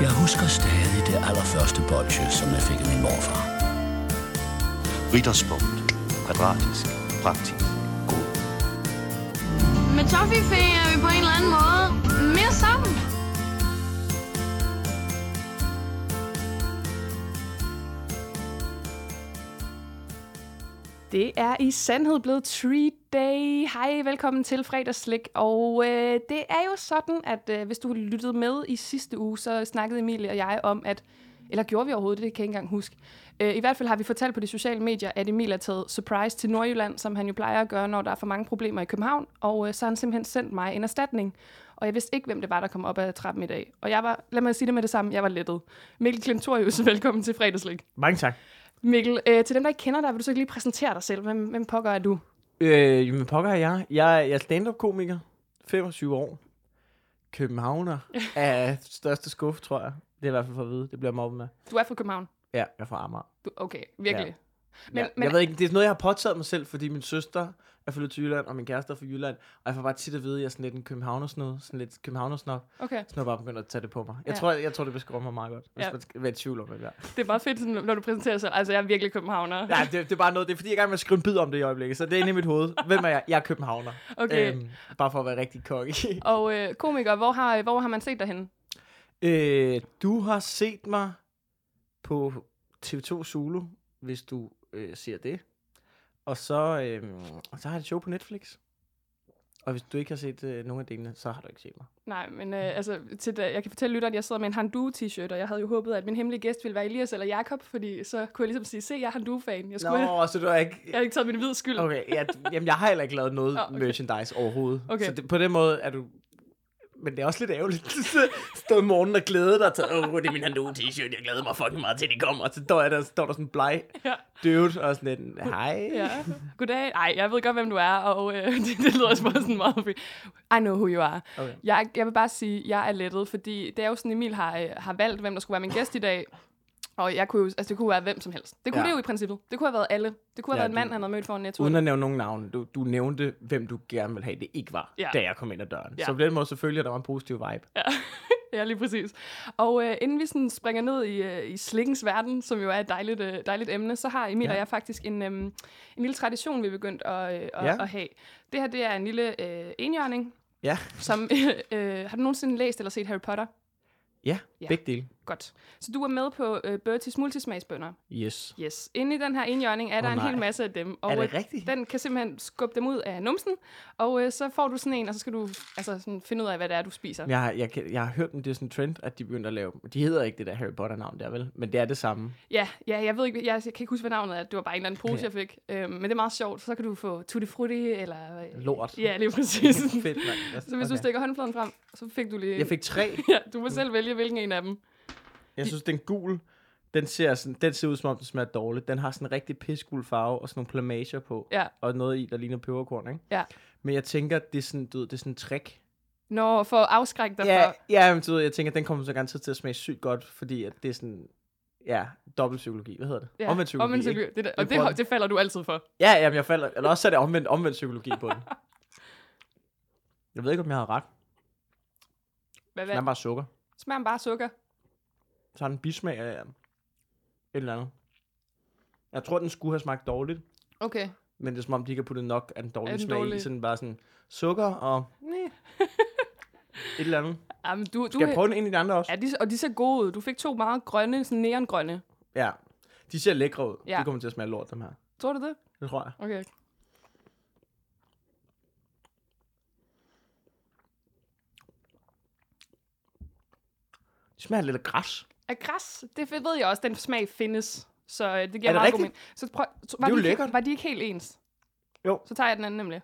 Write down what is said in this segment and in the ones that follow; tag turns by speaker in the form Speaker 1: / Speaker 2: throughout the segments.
Speaker 1: Jeg husker stadig det allerførste bolsje, som jeg fik af min morfar.
Speaker 2: Ritterspunkt. Kvadratisk. Praktisk. God.
Speaker 3: Med Toffifee er vi på en eller anden måde mere sammen.
Speaker 4: Det er i sandhed blevet treat day. Hej, velkommen til fredagslik. Og øh, det er jo sådan, at øh, hvis du lyttede med i sidste uge, så snakkede Emilie og jeg om, at... Eller gjorde vi overhovedet det? Det kan jeg ikke engang huske. Øh, I hvert fald har vi fortalt på de sociale medier, at Emil er taget surprise til Nordjylland, som han jo plejer at gøre, når der er for mange problemer i København. Og øh, så har han simpelthen sendt mig en erstatning. Og jeg vidste ikke, hvem det var, der kom op ad trappen i dag. Og jeg var, lad mig sige det med det samme, jeg var lettet. Mikkel Klemtorius, velkommen til fredagslik.
Speaker 5: Mange tak.
Speaker 4: Mikkel, øh, til dem, der ikke kender dig, vil du så ikke lige præsentere dig selv? Hvem, hvem pokker er du?
Speaker 5: Øh, jamen, pokker er jeg. Jeg, er- jeg er stand-up-komiker. 25 år. Københavner. er største skuffe, tror jeg. Det er i hvert fald for at vide. Det bliver jeg mobbet med.
Speaker 4: Du er fra København.
Speaker 5: Ja, jeg er fra Amager.
Speaker 4: Du, okay, virkelig. Ja. Men,
Speaker 5: Men,
Speaker 4: ja,
Speaker 5: ja.
Speaker 4: men
Speaker 5: Jeg ved ikke, det er noget, jeg har påtaget mig selv, fordi min søster er flyttet til Jylland, og min kæreste er fra Jylland. Og jeg får bare tit at vide, at jeg er sådan lidt en københavnersnod. Sådan lidt københavnersnop.
Speaker 4: okay,
Speaker 5: Så nu er jeg bare begyndt at tage det på mig. Jeg,
Speaker 4: Ja.
Speaker 5: ja. tror, jeg, jeg tror, det beskriver mig meget godt, hvis
Speaker 4: Ja.
Speaker 5: ja. man skal være i tvivl om det der.
Speaker 4: det er meget fedt, sådan, når du præsenterer dig selv. Altså, jeg er virkelig københavner.
Speaker 5: Nej, det, det, er bare noget, det er fordi, jeg er i gang med at skrive en bid om det i øjeblikket, så det er inde i mit hoved. Hvem er jeg? Jeg er københavner.
Speaker 4: Okay.
Speaker 5: Øhm, bare for at være rigtig kokke.
Speaker 4: Og øh, komiker, hvor har, hvor har man set dig henne?
Speaker 5: Øh, du har set mig på TV2 Zulu, hvis du øh, ser det. Og så, øh, så har jeg et show på Netflix. Og hvis du ikke har set øh, nogen af delene, så har du ikke set mig.
Speaker 4: Nej, men øh, altså, til, da- jeg kan fortælle lytteren, at jeg sidder med en Handu-t-shirt, og jeg havde jo håbet, at min hemmelige gæst ville være Elias eller Jakob, fordi så kunne jeg ligesom sige, se, jeg er Handu-fan. Jeg, skulle,
Speaker 5: Nå, så du har ikke...
Speaker 4: jeg har ikke taget min hvide skyld.
Speaker 5: Okay, ja, d- jamen jeg har heller ikke lavet noget
Speaker 4: Nå,
Speaker 5: oh,
Speaker 4: okay.
Speaker 5: okay. merchandise overhovedet.
Speaker 4: Okay.
Speaker 5: Okay. Så det, på den måde er du... Men det er også lidt ærgerligt. Stå i morgen og glæde dig til, åh, oh, det er min handle t-shirt, jeg glæder mig fucking meget til, de kommer. Og så står, jeg der, står der sådan en bleg
Speaker 4: Ja.
Speaker 5: dude og sådan lidt, hej.
Speaker 4: Ja. Goddag. Ej, jeg ved godt, hvem du er, og øh, det, det lyder også bare sådan meget... fri- I know who you are.
Speaker 5: Okay.
Speaker 4: Jeg, jeg vil bare sige, at jeg er lettet, fordi det er jo sådan, Emil har, øh, har valgt, hvem der skulle være min gæst i dag. Og jeg kunne jo, altså, det kunne være hvem som helst. Det kunne
Speaker 5: Ja.
Speaker 4: det jo i princippet. Det kunne have været alle. Det kunne have
Speaker 5: Ja,
Speaker 4: været en
Speaker 5: du-
Speaker 4: mand, han havde mødt foran Netto.
Speaker 5: Uden at nævne nogen navn, du, du nævnte, hvem du gerne ville have, det ikke var,
Speaker 4: Ja.
Speaker 5: ja. da jeg kom ind ad døren.
Speaker 4: Ja.
Speaker 5: Ja. Så på den måde selvfølgelig, at der var en positiv vibe.
Speaker 4: Ja. ja, lige præcis. Og øh, inden vi sådan springer ned i, øh, i slikkens verden, som jo er et dejligt, øh, dejligt emne, så har Emil ja.
Speaker 5: Ja.
Speaker 4: og jeg faktisk en, øh, en lille tradition, vi er begyndt at, øh, at, ja.
Speaker 5: Ja.
Speaker 4: at have. Det her det er en lille øh, enhjørning,
Speaker 5: Ja,
Speaker 4: som... Øh, øh, har du nogensinde læst eller set Harry Potter?
Speaker 5: ja,
Speaker 4: Ja.
Speaker 5: ja. begge dele.
Speaker 4: Godt. Så du er med på øh, Bertie's multismagsbønder.
Speaker 5: Yes.
Speaker 4: Yes. Inde i den her enhjørning er oh, der en
Speaker 5: nej.
Speaker 4: hel masse af dem.
Speaker 5: Er det
Speaker 4: øh,
Speaker 5: rigtigt?
Speaker 4: Den kan simpelthen skubbe dem ud af numsen, og øh, så får du sådan en, og så skal du altså, sådan, finde ud af, hvad det er, du spiser.
Speaker 5: Jeg, har- jeg, kan- jeg har hørt, om det er sådan en trend, at de begyndte at lave... De hedder ikke det der Harry Potter-navn der, vel? Men det er det samme.
Speaker 4: Ja, ja, jeg ved ikke, jeg, jeg kan ikke huske, hvad navnet er. Det var bare en eller anden pose,
Speaker 5: Ja.
Speaker 4: jeg fik. Øhm, men det er meget sjovt. Så kan du få tutti frutti, eller... øh,
Speaker 5: Lort.
Speaker 4: Ja, lige præcis.
Speaker 5: Fedt, mand. Altså,
Speaker 4: så hvis okay. du stikker håndfladen frem, så fik du lige...
Speaker 5: Jeg fik tre.
Speaker 4: Ja, du må selv vælge, hvilken en af dem.
Speaker 5: Jeg synes, den gul, den ser, sådan, den ser ud, som om den smager dårligt. Den har sådan en rigtig pisgul farve og sådan nogle plamager på.
Speaker 4: Ja.
Speaker 5: Og noget i, der ligner peberkorn, ikke?
Speaker 4: Ja.
Speaker 5: Men jeg tænker, det er sådan, du ved, det er sådan en trick.
Speaker 4: Nå, for at afskrække dig
Speaker 5: Ja,
Speaker 4: fra...
Speaker 5: ja men du ved, jeg tænker, den kommer så garanteret til at smage sygt godt, fordi at det er sådan, ja, dobbelt psykologi, hvad hedder det?
Speaker 4: Ja,
Speaker 5: omvendt psykologi.
Speaker 4: Omvendt
Speaker 5: ikke?
Speaker 4: psykologi. Det, der, og
Speaker 5: Jeg prøver
Speaker 4: det, det falder du altid for.
Speaker 5: Ja, jamen, jeg falder, eller også er det omvendt, omvendt psykologi på den. Jeg ved ikke, om jeg har ret.
Speaker 4: Hvad,
Speaker 5: Den
Speaker 4: hvad?
Speaker 5: er bare sukker.
Speaker 4: Smager bare sukker.
Speaker 5: Så har den bismag af et eller andet. Jeg tror, den skulle have smagt dårligt,
Speaker 4: Okay.
Speaker 5: men det er som om, de ikke har puttet nok af den
Speaker 4: Af
Speaker 5: dårlige
Speaker 4: den
Speaker 5: smag
Speaker 4: dårlige.
Speaker 5: i. Sådan bare sådan sukker og
Speaker 4: Næh.
Speaker 5: et eller andet.
Speaker 4: Jamen, du, du,
Speaker 5: Skal jeg prøve den en i de andre også?
Speaker 4: Ja, de, og de ser gode ud. Du fik to meget grønne, sådan neongrønne.
Speaker 5: Ja. De ser lækre ud.
Speaker 4: Ja.
Speaker 5: De kommer til at smage lort, dem her.
Speaker 4: Tror du det?
Speaker 5: Det tror jeg.
Speaker 4: Okay.
Speaker 5: De smager lidt af græs.
Speaker 4: Af græs, det ved jeg også, den smag findes. Så øh, det giver
Speaker 5: Er det
Speaker 4: meget god
Speaker 5: rigtigt?
Speaker 4: mening. Så prøv, så, var,
Speaker 5: Det er jo
Speaker 4: de ikke,
Speaker 5: lækkert.
Speaker 4: var de ikke helt ens?
Speaker 5: Jo.
Speaker 4: Så tager jeg den anden nemlig.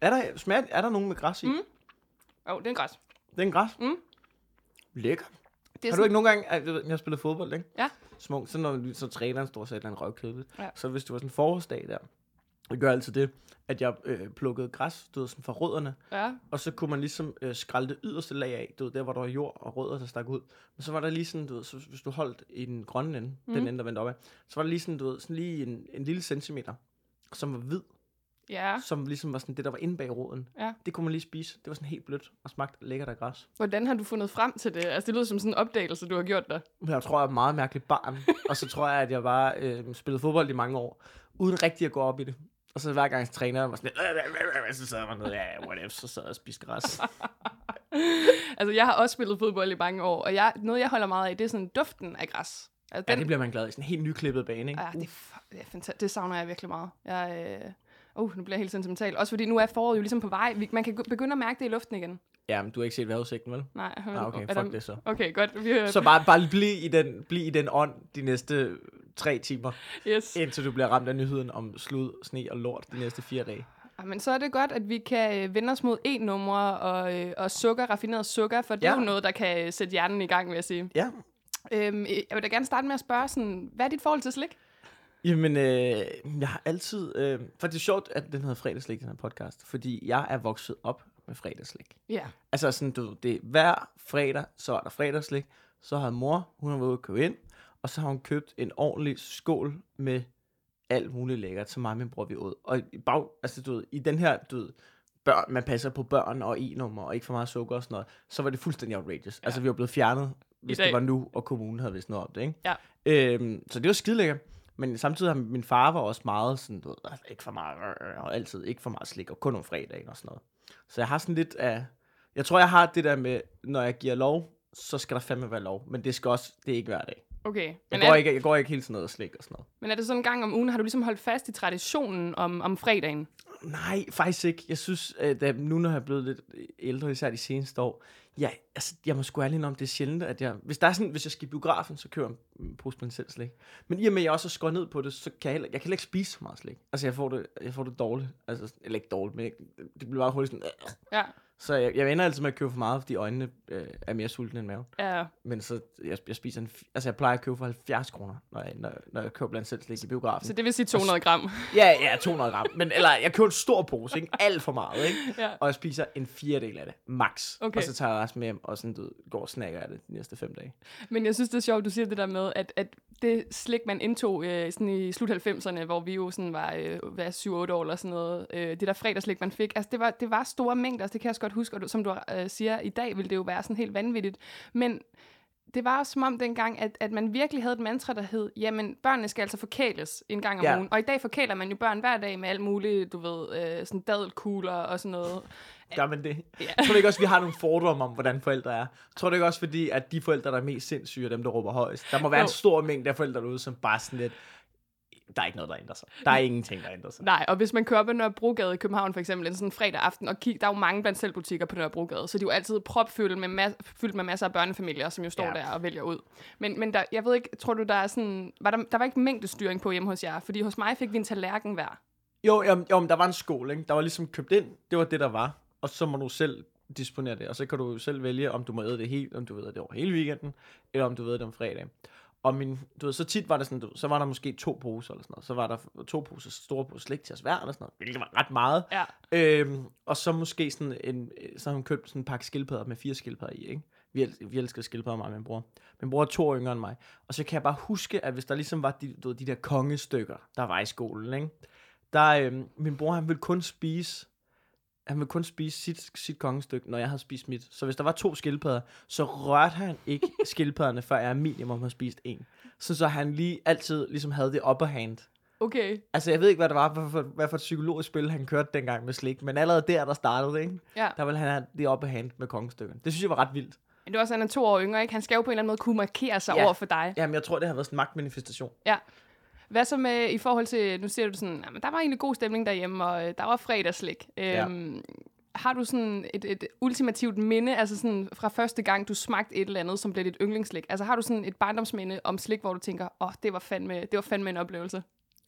Speaker 5: Er der, smager, er der nogen med græs i?
Speaker 4: Mm. Jo, det er en græs.
Speaker 5: Det er en græs.
Speaker 4: Mm.
Speaker 5: Lækker.
Speaker 4: Det er
Speaker 5: Har du ikke nogen gange, Ej, du ved, jeg har spillet fodbold, ikke?
Speaker 4: Ja.
Speaker 5: Små, så når så træneren står og sagde et eller andet røvkedeligt.
Speaker 4: Ja.
Speaker 5: Så hvis det var sådan en forårsdag der, jeg gør altid det, at jeg øh, plukkede græs, du ved, sådan fra rødderne,
Speaker 4: Ja,
Speaker 5: og så kunne man ligesom øh, skrælle det yderste lag af, du ved, der hvor der var jord og rødder, der stak ud. Men så var der lige sådan, du ved, så, hvis du holdt i den grønne ende, mm. den ende, der vendte opad, så var der lige sådan, du ved, sådan lige en, en lille centimeter, som var hvid.
Speaker 4: Ja.
Speaker 5: som ligesom var sådan det, der var inde bag roden.
Speaker 4: Ja.
Speaker 5: Det kunne man lige spise. Det var sådan helt blødt og smagte lækkert af græs.
Speaker 4: Hvordan har du fundet frem til det? Altså, det lyder som sådan en opdagelse, du har gjort der.
Speaker 5: Men Jeg tror, jeg er et meget mærkeligt barn. og så tror jeg, at jeg bare øh, spillede fodbold i mange år, uden rigtig at gå op i det. Og så hver gang træneren var sådan, "Øh, øh, øh, øh," så sad man nede, ja, what if, så sad jeg og spiste græs.
Speaker 4: altså, jeg har også spillet fodbold i mange år, og jeg, noget, jeg holder meget af, det er sådan duften af græs. Altså,
Speaker 5: ja, det bliver man glad i. Sådan en helt nyklippet bane, ikke?
Speaker 4: Ja, det, er fa- det, er fanta- det savner jeg virkelig meget. Jeg, øh, uh, nu bliver jeg helt sentimental. Også fordi nu er foråret jo ligesom på vej. Vi, man kan gå- begynde at mærke det i luften igen.
Speaker 5: Ja, men du har ikke set vejrudsigten, vel?
Speaker 4: Nej,
Speaker 5: Ah, okay,
Speaker 4: er
Speaker 5: fuck det så.
Speaker 4: Okay, godt. Vi, øh,
Speaker 5: Så bare, bare bliv, i den, bliv i den ånd de næste tre timer,
Speaker 4: yes.
Speaker 5: indtil du bliver ramt af nyheden om slud, sne og lort de næste fire dage.
Speaker 4: Ah, men så er det godt, at vi kan øh, vende os mod e-numre og, øh, og sukker, raffineret sukker, for det ja. er
Speaker 5: Ja.
Speaker 4: jo noget, der kan øh, sætte hjernen i gang, vil jeg sige.
Speaker 5: Ja,
Speaker 4: Øhm, øh, jeg vil da gerne starte med at spørge, sådan, hvad er dit forhold til slik?
Speaker 5: Jamen, øh, jeg har altid... Øh, for det er sjovt, at den hedder fredagslik, den her podcast. Fordi jeg er vokset op med fredagslik.
Speaker 4: Ja.
Speaker 5: Altså sådan, du ved, det er hver fredag, så er der fredagslik. Så har mor, hun har været ude at købe ind. Og så har hun købt en ordentlig skål med alt muligt lækkert, som mig og min bror vi åd. Og i bag, altså du ved, i den her, du ved, børn, man passer på børn og e-nummer og ikke for meget sukker og sådan noget, så var det fuldstændig outrageous. Ja. Altså vi var blevet fjernet, hvis
Speaker 4: dag.
Speaker 5: det var nu, og kommunen havde vist noget om det, ikke?
Speaker 4: Ja.
Speaker 5: Øhm, så det var skidelækkert. Men samtidig har min far var også meget sådan, du ved, altså, ikke for meget, øh, og altid ikke for meget slik, og kun om fredagen og sådan noget. Så jeg har sådan lidt af, jeg tror jeg har det der med, når jeg giver lov, så skal der fandme være lov, men det skal også, det er ikke hver dag.
Speaker 4: Okay.
Speaker 5: Jeg,
Speaker 4: Men
Speaker 5: går,
Speaker 4: er,
Speaker 5: ikke, jeg går ikke helt sådan noget og slik og sådan noget.
Speaker 4: men er det sådan en gang om ugen, har du ligesom holdt fast i traditionen om, om fredagen?
Speaker 5: Nej, faktisk ikke. Jeg synes, at da, nu når jeg er blevet lidt ældre, især de seneste år, ja, altså, jeg må sgu ærlig indrømme, det er sjældent, at jeg... Hvis, der er sådan, hvis jeg skal i biografen, så kører jeg en pose med en selv slik. Men i og med, at jeg også har skåret ned på det, så kan jeg, heller, jeg kan heller ikke spise så meget slik. Altså, jeg får det, jeg får det dårligt. Altså, eller ikke dårligt, men jeg, det bliver bare hurtigt sådan... Øh.
Speaker 4: Ja.
Speaker 5: Så jeg, jeg ender altid med at købe for meget, fordi øjnene øh, er mere sultne end maven.
Speaker 4: Ja.
Speaker 5: Men så, jeg, jeg spiser en... fi- Altså, jeg plejer at købe for 70 kroner, når jeg, når, når jeg køber blandt selv slik i biografen.
Speaker 4: Så det vil sige 200 gram.
Speaker 5: Ja, ja, 200 gram. Men, eller jeg køber en stor pose, ikke? Alt for meget, ikke?
Speaker 4: Ja.
Speaker 5: Og jeg spiser en fjerdedel af det, max.
Speaker 4: Okay.
Speaker 5: Og så tager jeg resten med hjem og sådan, du, ved, går og snakker af det de næste fem dage.
Speaker 4: Men jeg synes, det er sjovt, du siger det der med, at, at det slik, man indtog øh, sådan i slut 90'erne, hvor vi jo sådan var øh, 7-8 år eller sådan noget, øh, det der fredagslik, man fik, altså det var, det var store mængder, altså det kan jeg også godt huske, og du, som du øh, siger, i dag ville det jo være sådan helt vanvittigt, men det var også som om dengang, at, at man virkelig havde et mantra, der hed, jamen børnene skal altså forkæles en gang om
Speaker 5: Ja.
Speaker 4: ugen, og i dag forkæler man jo børn hver dag med alt muligt, du ved, øh, sådan dadelkugler og sådan noget.
Speaker 5: Gør man det? Ja. Tror du ikke også, vi har nogle fordomme om, hvordan forældre er? Tror du ikke også, fordi at de forældre, der er mest sindssyge, er dem, der råber højst? Der må være
Speaker 4: Jo.
Speaker 5: en stor mængde af forældre derude, som bare sådan lidt... Der er ikke noget, der ændrer sig. Der er ingenting, der ændrer sig.
Speaker 4: Nej, og hvis man kører op ad Nørrebrogade i København for eksempel en sådan fredag aften, og kig, der er jo mange blandt selv butikker på Nørrebrogade, så de er jo altid propfyldt med, mas- fyldt med masser af børnefamilier, som jo står ja.
Speaker 5: Ja.
Speaker 4: der og vælger ud. Men, men der, jeg ved ikke, tror du, der er sådan, var der, der var ikke mængdestyring på hjemme hos jer, fordi hos mig fik vi en tallerken hver.
Speaker 5: Jo, jo, jo, men der var en skole, ikke? Der var ligesom købt ind. Det var det, der var. Og så må du selv disponere det. Og så kan du selv vælge, om du må æde det helt, om du ved det over hele weekenden, eller om du ved det om fredag. Og min, du ved, så tit var det sådan, du, ved, så var der måske to poser eller sådan noget. Så var der to poser store poser slik til os hver eller sådan noget, hvilket var ret meget.
Speaker 4: Ja.
Speaker 5: Øhm, og så måske sådan en, så har hun købt sådan en pakke skildpadder med fire skildpadder i, ikke? Vi, el- vi elsker skildpadder, mig og min bror. Min bror er to år yngre end mig. Og så kan jeg bare huske, at hvis der ligesom var de, du ved, de der kongestykker, der var i skolen, ikke? Der, øhm, min bror, han ville kun spise han ville kun spise sit, sit kongestykke, når jeg havde spist mit. Så hvis der var to skildpadder, så rørte han ikke skildpadderne, før jeg minimum havde spist en. Så, så han lige altid ligesom havde det upper hand.
Speaker 4: Okay,
Speaker 5: Altså, jeg ved ikke, hvad det var, hvad for, hvad for et psykologisk spil, han kørte dengang med slik, men allerede der, der startede, ikke?
Speaker 4: ja.
Speaker 5: der ville han have det oppe hand med kongestykken. Det synes jeg var ret vildt.
Speaker 4: Men det var også, han er to år yngre, ikke? Han skal jo på en eller anden måde kunne markere sig ja.
Speaker 5: Ja.
Speaker 4: over for dig.
Speaker 5: Jamen, jeg tror, det har været sådan en magtmanifestation.
Speaker 4: Ja. Hvad så med i forhold til, nu siger du sådan, jamen, der var egentlig god stemning derhjemme, og øh, der var fredagslik.
Speaker 5: Ja.
Speaker 4: Øhm, Har du sådan et, et ultimativt minde, altså sådan fra første gang, du smagte et eller andet, som blev dit yndlingsslik? Altså har du sådan et barndomsminde om slik, hvor du tænker, åh, oh, det, var fandme, det var fandme en oplevelse?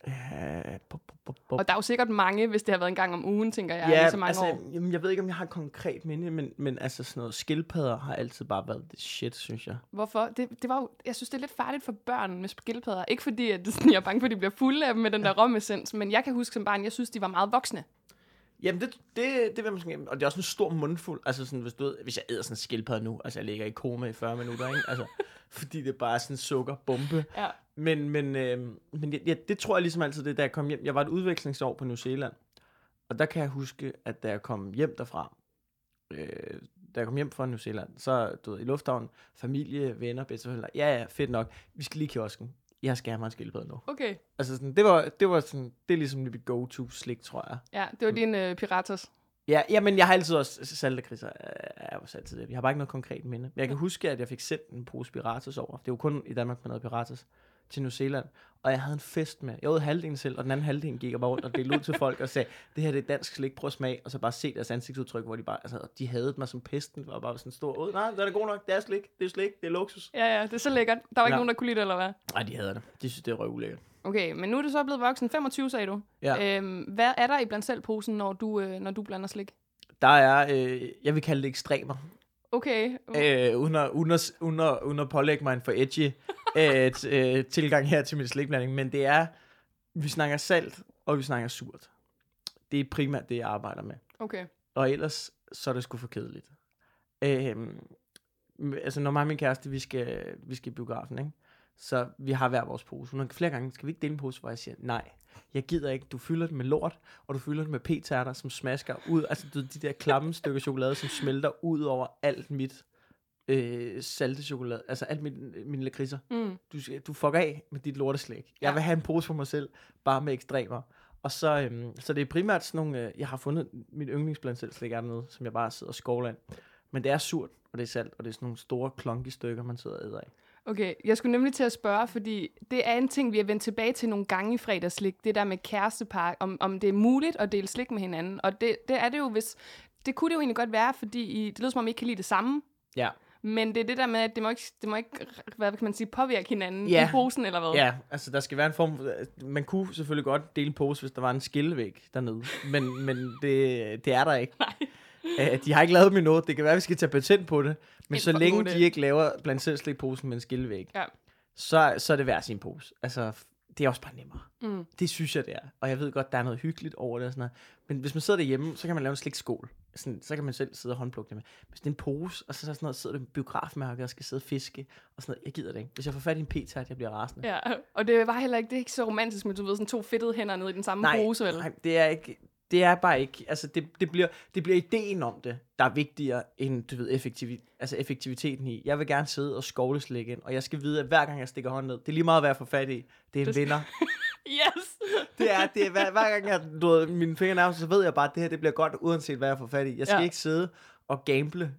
Speaker 5: Ja, bu- bu- bu- bu-
Speaker 4: Og der er jo sikkert mange, hvis det har været en gang om ugen, tænker jeg, ja,
Speaker 5: ja
Speaker 4: i så mange
Speaker 5: altså,
Speaker 4: altså, år.
Speaker 5: Jamen, jeg ved ikke, om jeg har et konkret minde, men, men altså sådan noget skildpadder har altid bare været det shit, synes jeg.
Speaker 4: Hvorfor? Det, det var jo, jeg synes, det er lidt farligt for børn med skildpadder. Ikke fordi, at sådan, jeg er bange for, at de bliver fulde af dem med den der romessens, men jeg kan huske som barn, jeg synes, de var meget voksne.
Speaker 5: Jamen, det, det, det vil man sådan, og det er også en stor mundfuld. Altså sådan, hvis, du ved, hvis jeg æder sådan en skildpadde nu, altså jeg ligger i koma i 40 minutter, ikke? Altså, fordi det bare er sådan en sukkerbombe.
Speaker 4: Ja.
Speaker 5: Men, men, øh, men ja, ja, det tror jeg ligesom altid, det er, da jeg kom hjem. Jeg var et udvekslingsår på New Zealand, Og der kan jeg huske, at da jeg kom hjem derfra, øh, da jeg kom hjem fra New Zealand, så du ved, i lufthavnen, familie, venner, bedsteforældre, ja ja, fedt nok, vi skal lige i kiosken. Jeg skal have mig en skildpadde nu.
Speaker 4: Okay.
Speaker 5: Altså sådan, det var, det var sådan, det er ligesom mit go-to slik, tror jeg.
Speaker 4: Ja, det var din øh, piratas.
Speaker 5: Ja, ja, men jeg har altid også saltekriser. Jeg var altid det. Jeg har bare ikke noget konkret minde. Men jeg kan huske, at jeg fik sendt en pose piratas over. Det var kun i Danmark, man havde piratas til New Zealand. Og jeg havde en fest med. Jeg åd halvdelen selv, og den anden halvdel gik jeg bare rundt og delte ud til folk og sagde, det her det er dansk slik, prøv at smag. Og så bare se deres ansigtsudtryk, hvor de bare, altså, de havde mig som pesten, og bare sådan stor ud. Nej, det er da god nok, det er slik, det er slik, det er luksus.
Speaker 4: Ja, ja, det er så lækkert. Der var ikke
Speaker 5: Ja.
Speaker 4: nogen, der kunne lide det, eller hvad?
Speaker 5: Nej, de hader det. De synes, det er røvulækkert.
Speaker 4: Okay, men nu er du så blevet voksen. 25, sagde du.
Speaker 5: Ja.
Speaker 4: Øhm, hvad er der i blandt selv posen, når du, øh, når du blander slik?
Speaker 5: Der er, øh, jeg vil kalde det ekstremer.
Speaker 4: Okay.
Speaker 5: øh, uden, at, uden, at, uden, at, uden at pålægge mig en for edgy øh, t- øh, tilgang her til min slikblanding, men det er, vi snakker salt, og vi snakker surt. Det er primært det, jeg arbejder med.
Speaker 4: Okay.
Speaker 5: Og ellers, så er det sgu for kedeligt. Øhm, m- altså, når mig og min kæreste, vi skal, vi skal i biografen, ikke? Så vi har hver vores pose. Hun har flere gange, skal vi ikke dele en pose, hvor jeg siger, nej, jeg gider ikke. Du fylder den med lort, og du fylder den med p-tærter, som smasker ud. Altså, du, ved, de der klamme stykker chokolade, som smelter ud over alt mit øh, salte chokolade. Altså, alt mit, mine lakridser
Speaker 4: Mm.
Speaker 5: du, skal- du fucker af med dit lorteslæg. Jeg vil have en pose for mig selv, bare med ekstremer. Og så, øhm, så det er primært sådan nogle, øh, jeg har fundet mit yndlingsblandt selv slik er noget, som jeg bare sidder og skovler ind. Men det er surt, og det er salt, og det er sådan nogle store, klonke stykker, man sidder og æder af.
Speaker 4: Okay, jeg skulle nemlig til at spørge, fordi det er en ting, vi har vendt tilbage til nogle gange i fredagslik, det der med kærestepar, om, om det er muligt at dele slik med hinanden. Og det, det er det jo, hvis... Det kunne det jo egentlig godt være, fordi I, det lyder som om, I ikke kan lide det samme.
Speaker 5: Ja,
Speaker 4: Men det er det der med, at det må ikke, det må ikke hvad kan man sige, påvirke hinanden
Speaker 5: Ja.
Speaker 4: i posen eller hvad?
Speaker 5: ja, altså der skal være en form, for- man kunne selvfølgelig godt dele en pose, hvis der var en skillevæg dernede, men, men det, det er der ikke. Nej. De har ikke lavet mig noget, det kan være, vi skal tage patent på det, men
Speaker 4: En
Speaker 5: så
Speaker 4: for-
Speaker 5: længe
Speaker 4: god idé.
Speaker 5: de ikke laver blandt selv slikposen med en skillevæg,
Speaker 4: ja.
Speaker 5: så, så er det hver sin pose. Altså, f- det er også bare nemmere.
Speaker 4: Mm.
Speaker 5: Det synes jeg, det er. Og jeg ved godt, der er noget hyggeligt over det og sådan noget. Men hvis man sidder derhjemme, så kan man lave en slik skål. Sådan, så kan man selv sidde og håndplukke det med. Hvis det er en pose, og så, så sådan noget, sidder du i biografmærket og skal sidde og fiske. Og sådan noget. Jeg gider det ikke. Hvis jeg får fat i en p-tart, jeg bliver rasende.
Speaker 4: Ja, og det var heller ikke, det er ikke så romantisk, men du ved, sådan to fedtede hænder nede i den samme pose, vel?
Speaker 5: nej, det er ikke... Det er bare ikke, altså det, det, bliver, det bliver ideen om det, der er vigtigere end, du ved, effektivi, altså effektiviteten i. Jeg vil gerne sidde og skovle slik ind, og jeg skal vide, at hver gang jeg stikker hånden ned, det er lige meget, hvad jeg får fat i. Det er en vinder.
Speaker 4: Yes!
Speaker 5: Det er, det er hver, hver gang jeg, du ved, mine fingre nærmer sig, så ved jeg bare, at det her det bliver godt, uanset hvad jeg får fat i. Jeg skal
Speaker 4: Ja.
Speaker 5: ja. ikke sidde og gamble,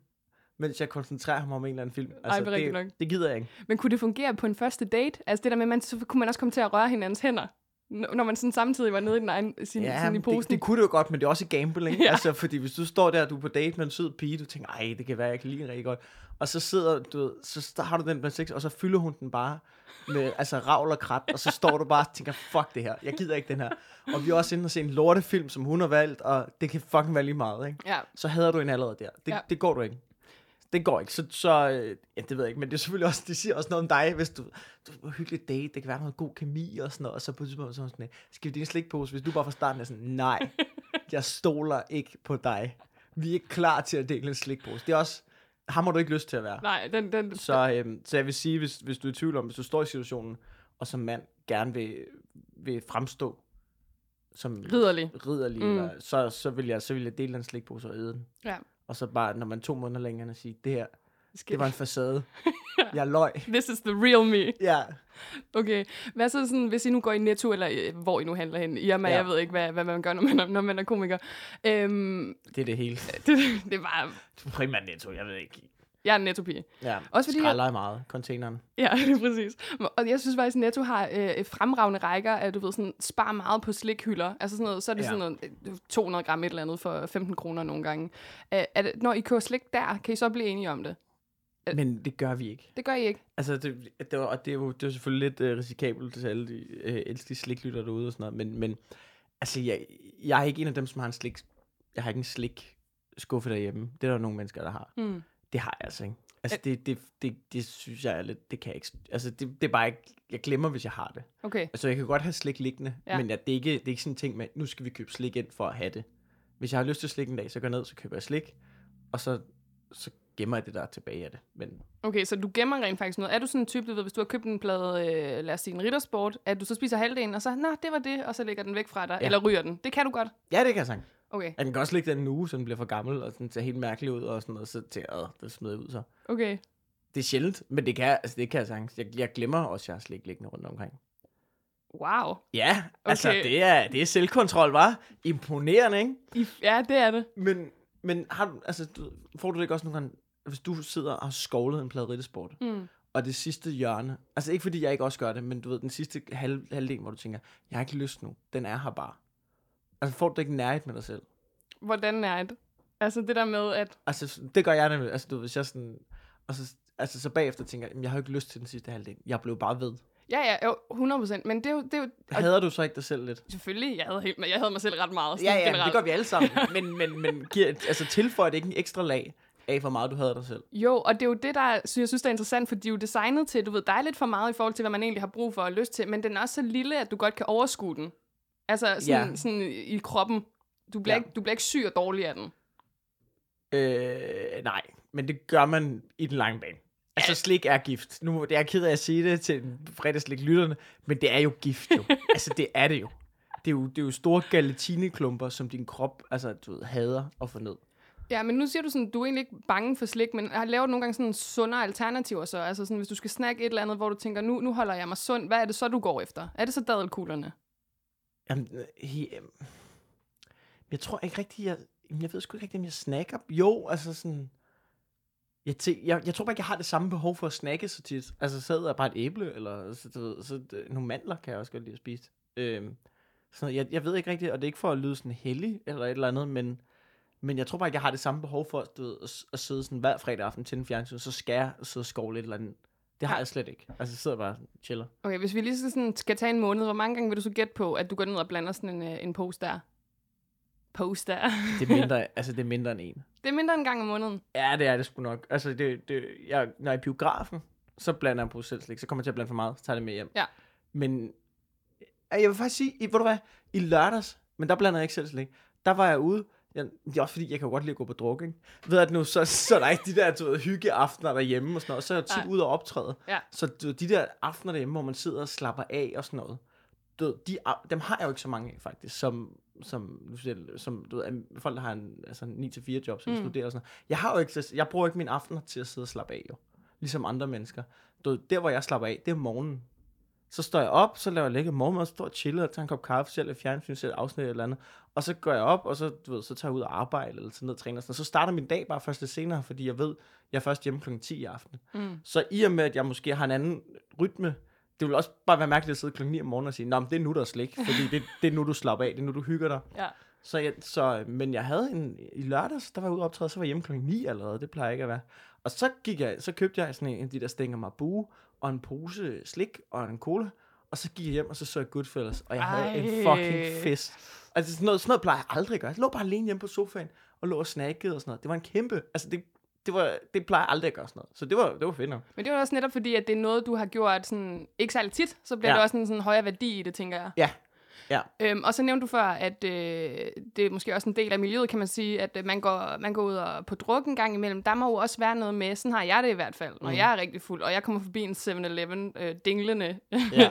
Speaker 5: mens jeg koncentrerer mig om en eller anden film. Altså,
Speaker 4: det er rigtigt nok.
Speaker 5: det, det gider jeg ikke.
Speaker 4: Men kunne det fungere på en første date? Altså det der med, at man, så kunne man også komme til at røre hinandens hænder, n- når man sådan samtidig var nede i den egen, sin, ja, sin i
Speaker 5: men det,
Speaker 4: posen.
Speaker 5: det, kunne det jo godt, men det er også gamble, ikke?
Speaker 4: Ja.
Speaker 5: Ja. Altså, fordi hvis du står der, og du er på date med en sød pige, du tænker, ej, det kan være, jeg kan lide hende rigtig godt. Og så sidder du, ved, så st- har du den med sex, og så fylder hun den bare med altså, ravl og krat, og så står du bare og tænker, fuck det her, jeg gider ikke den her. Og vi er også inde og se en lortefilm, som hun har valgt, og det kan fucking være lige meget, ikke?
Speaker 4: Ja,
Speaker 5: så hader du hende allerede der. Det,
Speaker 4: Ja.
Speaker 5: ja. det går du ikke. Det går ikke, så, så øh, ja, det ved jeg ikke, men det er selvfølgelig også, det siger også noget om dig, hvis du, du er på en hyggelig date, der kan være noget god kemi og sådan noget, og så på et tidspunkt så er hun sådan, øh, skal vi din slikpose, hvis du bare fra starten er sådan, nej, jeg stoler ikke på dig. Vi er ikke klar til at dele en slikpose. Det er også, ham har du ikke lyst til at være.
Speaker 4: nej, den, den,
Speaker 5: Så, øhm, så jeg vil sige, hvis, hvis du er i tvivl om, hvis du står i situationen, og som mand gerne vil, vil fremstå som
Speaker 4: ridderlig.
Speaker 5: ridderlig,
Speaker 4: Mm.
Speaker 5: mm. eller, så, så, vil jeg, så vil jeg dele den slikpose og æde den.
Speaker 4: Ja.
Speaker 5: Og så bare, når man to måneder længere, og sige, det her,
Speaker 4: Skal-
Speaker 5: det var en facade. jeg løj.
Speaker 4: This is the real me.
Speaker 5: Ja.
Speaker 4: Okay, hvad så sådan, hvis I nu går i Netto, eller øh, hvor I nu handler hen, i og med,
Speaker 5: Ja.
Speaker 4: jeg ved ikke, hvad, hvad man gør, når man er, når man er komiker. Øhm,
Speaker 5: Det er det hele.
Speaker 4: det, det er bare,
Speaker 5: Primært netto, jeg ved ikke.
Speaker 4: jeg er en Netto-pige.
Speaker 5: Ja,
Speaker 4: Også fordi jeg-
Speaker 5: skralder jeg... meget, containeren.
Speaker 4: Ja, det er præcis. Og jeg synes faktisk, at Netto har øh, fremragende rækker af, du ved, sådan, spar meget på slikhylder. Altså sådan noget, så er det ja.
Speaker 5: Ja.
Speaker 4: sådan noget, øh, 200 gram et eller andet for 15 kroner nogle gange. Øh, er det, når I køber slik der, kan I så blive enige om det? Øh.
Speaker 5: Men det gør vi ikke.
Speaker 4: Det gør I ikke.
Speaker 5: Altså, det, det, var, og det, er jo, det er jo selvfølgelig lidt øh, risikabelt til alle de øh, elskelige sliklytter derude og sådan noget, men, men altså, jeg, jeg er ikke en af dem, som har en slik... Jeg har ikke en slik skuffe derhjemme. Det er der nogle mennesker, der har.
Speaker 4: Mm.
Speaker 5: Det har jeg altså ikke.
Speaker 4: Øh.
Speaker 5: Altså, det, det, det, det synes jeg er lidt... Det kan jeg ikke... Altså, det, det er bare ikke... Jeg glemmer, hvis jeg har det.
Speaker 4: Okay.
Speaker 5: Altså, jeg kan godt have slik liggende,
Speaker 4: Ja.
Speaker 5: ja. men jeg, det, er ikke, det er ikke sådan en ting med, nu skal vi købe slik ind for at have det. Hvis jeg har lyst til slik en dag, så går jeg ned, så køber jeg slik, og så, så gemmer jeg det, der er tilbage af det. Men
Speaker 4: Okay, så du gemmer rent faktisk noget. Er du sådan en type, du ved, hvis du har købt en plade, øh, lad os sige en riddersport, at du så spiser halvdelen, og så, nå, det var det, og så lægger den væk fra dig, ja.
Speaker 5: Ja.
Speaker 4: eller ryger den. Det kan du godt.
Speaker 5: ja, det kan jeg sige.
Speaker 4: Okay,
Speaker 5: At den kan også ligge den nu, så den bliver for gammel, og den ser helt mærkelig ud, og sådan noget, så til at det smider jeg ud så.
Speaker 4: okay.
Speaker 5: Det er sjældent, men det kan, jeg- altså, det kan jeg sagtens. Jeg, jeg glemmer også, at jeg har slik liggende rundt omkring.
Speaker 4: Wow.
Speaker 5: Ja, okay. altså
Speaker 4: Okay.
Speaker 5: det er, det er selvkontrol, var Imponerende, ikke?
Speaker 4: I, ja, det er det.
Speaker 5: Men, men har du, altså, du, får du det ikke også nogle gange, hvis du sidder og har skovlet en pladerittesport,
Speaker 4: Mm.
Speaker 5: og det sidste hjørne, altså ikke fordi jeg ikke også gør det, men du ved, den sidste halv, halvdel, hvor du tænker, jeg har ikke lyst nu, den er her bare. Altså får du det ikke nærhed med dig selv?
Speaker 4: Hvordan er det? Altså det der med, at...
Speaker 5: Altså, det gør jeg nemlig. Altså, du, ved, hvis jeg sådan... Og så, altså, så bagefter tænker jeg, "Jamen, jeg har jo ikke lyst til den sidste halvdel. Jeg blev bare ved.
Speaker 4: Ja, ja, jo, 100%. Men det er jo... Det er jo og
Speaker 5: Hader du så ikke dig selv lidt?
Speaker 4: selvfølgelig, jeg havde, helt, jeg havde mig selv ret meget. sådan generelt.
Speaker 5: vi alle sammen. men, men, men giver, altså, tilføjer det ikke en ekstra lag af, hvor meget du hader dig selv?
Speaker 4: Jo, og det er jo det, der sy- jeg synes, der er interessant, fordi de er jo designet til, du ved, der er lidt for meget i forhold til, hvad man egentlig har brug for og lyst til, men den er også så lille, at du godt kan overskue den. Altså sådan,
Speaker 5: Ja.
Speaker 4: ja. sådan i kroppen. Du bliver,
Speaker 5: Ja.
Speaker 4: ja. ikke, du bliver ikke syg og dårlig af den.
Speaker 5: Øh, nej, men det gør man i den lange bane. Altså, slik er gift. Nu jeg er jeg ked af at sige det til fredagslik-lytterne, men det er jo gift jo. altså, det er det jo. Det er jo, det er jo store galatineklumper, som din krop altså, du ved, hader at få ned.
Speaker 4: Ja, men nu siger du sådan, du er egentlig ikke bange for slik, men jeg laver du nogle gange sådan sundere alternativer så? Altså sådan, hvis du skal snakke et eller andet, hvor du tænker, nu, nu holder jeg mig sund, hvad er det så, du går efter? Er det så dadelkuglerne?
Speaker 5: Jamen, øh, he, øh, jeg tror ikke rigtig, jeg, jamen, jeg ved sgu ikke rigtig, om jeg snakker. Jo, altså sådan, jeg, tæ, jeg, jeg tror bare ikke, jeg har det samme behov for at snakke så tit. Altså, så æder jeg bare et æble, eller så, du ved, så, øh, nogle mandler kan jeg også godt lide at spise. Øhm, sådan, noget. jeg, jeg ved ikke rigtigt, og det er ikke for at lyde sådan heldig, eller et eller andet, men, men jeg tror bare ikke, jeg har det samme behov for du ved, at, s- at sidde sådan hver fredag aften til en fjernsyn, så skal jeg sidde og skovle et eller andet. Det har jeg slet ikke. Altså, jeg sidder bare og chiller.
Speaker 4: Okay, hvis vi lige så sådan skal tage en måned, hvor mange gange vil du så gætte på, at du går ned og blander sådan en, øh, en pose der? Pose der.
Speaker 5: Det er mindre, altså, det er mindre end en.
Speaker 4: Det er mindre end en gang om måneden.
Speaker 5: Ja, det er det sgu nok. Altså, det, det, jeg, når jeg er i biografen, så blander jeg bruxelleslik. Så kommer jeg til at blande for meget, så tager jeg det med hjem.
Speaker 4: Ja.
Speaker 5: Men øh, jeg vil faktisk sige, i, ved du hvad, i lørdags, men der blander jeg ikke selv slik. Der var jeg ude, jeg, det er også fordi, jeg kan jo godt lide at gå på druk, ikke? Ved at nu, så, så er der ikke de der du ved, hyggeaftener derhjemme og sådan noget. Så er jeg tit
Speaker 4: Nej.
Speaker 5: ude og optræde.
Speaker 4: Ja.
Speaker 5: Så du ved, de der aftener derhjemme, hvor man sidder og slapper af og sådan noget. Du ved, de, af- dem har jeg jo ikke så mange af, faktisk, som, som, nu siger jeg- som du ved, er folk, der har en, altså, 9-4 job, som mm.
Speaker 4: Mm.
Speaker 5: studerer og sådan noget. Jeg, har jo ikke, så- jeg bruger ikke mine aftener til at sidde og slappe af, jo. Ligesom andre mennesker. Du ved, der, hvor jeg slapper af, det er om morgenen. Så står jeg op, så laver jeg lækker morgenmad, så står jeg og chiller og tager en kop kaffe, selv et fjernsyn, selv et afsnit eller et eller andet. Og så går jeg op, og så, du ved, så tager jeg ud og arbejde, eller sådan noget, træner. og Sådan noget. Så starter min dag bare først lidt senere, fordi jeg ved, jeg er først hjemme kl. 10 i aften.
Speaker 4: Mm.
Speaker 5: Så i og med, at jeg måske har en anden rytme, det vil også bare være mærkeligt at sidde kl. 9 om morgenen og sige, Nå, men det er nu, der er slik, fordi det, det er nu, du slapper af, det er nu, du hygger dig.
Speaker 4: Ja.
Speaker 5: Så, jeg, så men jeg havde en, i lørdags, der var jeg ude at optræde, så var jeg hjemme kl. 9 allerede, det plejer jeg ikke at være. Og så, gik jeg, så købte jeg sådan en af de der stænger marabu, og en pose slik og en cola, og så gik jeg hjem, og så så jeg Goodfellas, og jeg Ej. havde en
Speaker 4: Ej.
Speaker 5: fucking fest. Altså sådan noget, sådan noget plejer jeg aldrig at gøre. Jeg lå bare alene hjemme på sofaen, og lå og snakkede og sådan noget. Det var en kæmpe, altså det, det, var, det plejer jeg aldrig at gøre sådan noget. Så det var, det var fedt nok.
Speaker 4: Men det er jo også netop fordi, at det er noget, du har gjort sådan, ikke særlig tit, så bliver
Speaker 5: Ja.
Speaker 4: ja. det også en sådan, højere værdi i det, tænker jeg.
Speaker 5: Ja.
Speaker 4: Øhm, og så nævnte du før, at øh, det er måske også en del af miljøet, kan man sige, at øh, man, går, man går ud og på druk en gang imellem. Der må jo også være noget med, sådan har jeg det i hvert fald, når
Speaker 5: Mm.
Speaker 4: mm. jeg er rigtig fuld, og jeg kommer forbi en 7-Eleven øh, dinglende.
Speaker 5: Ja.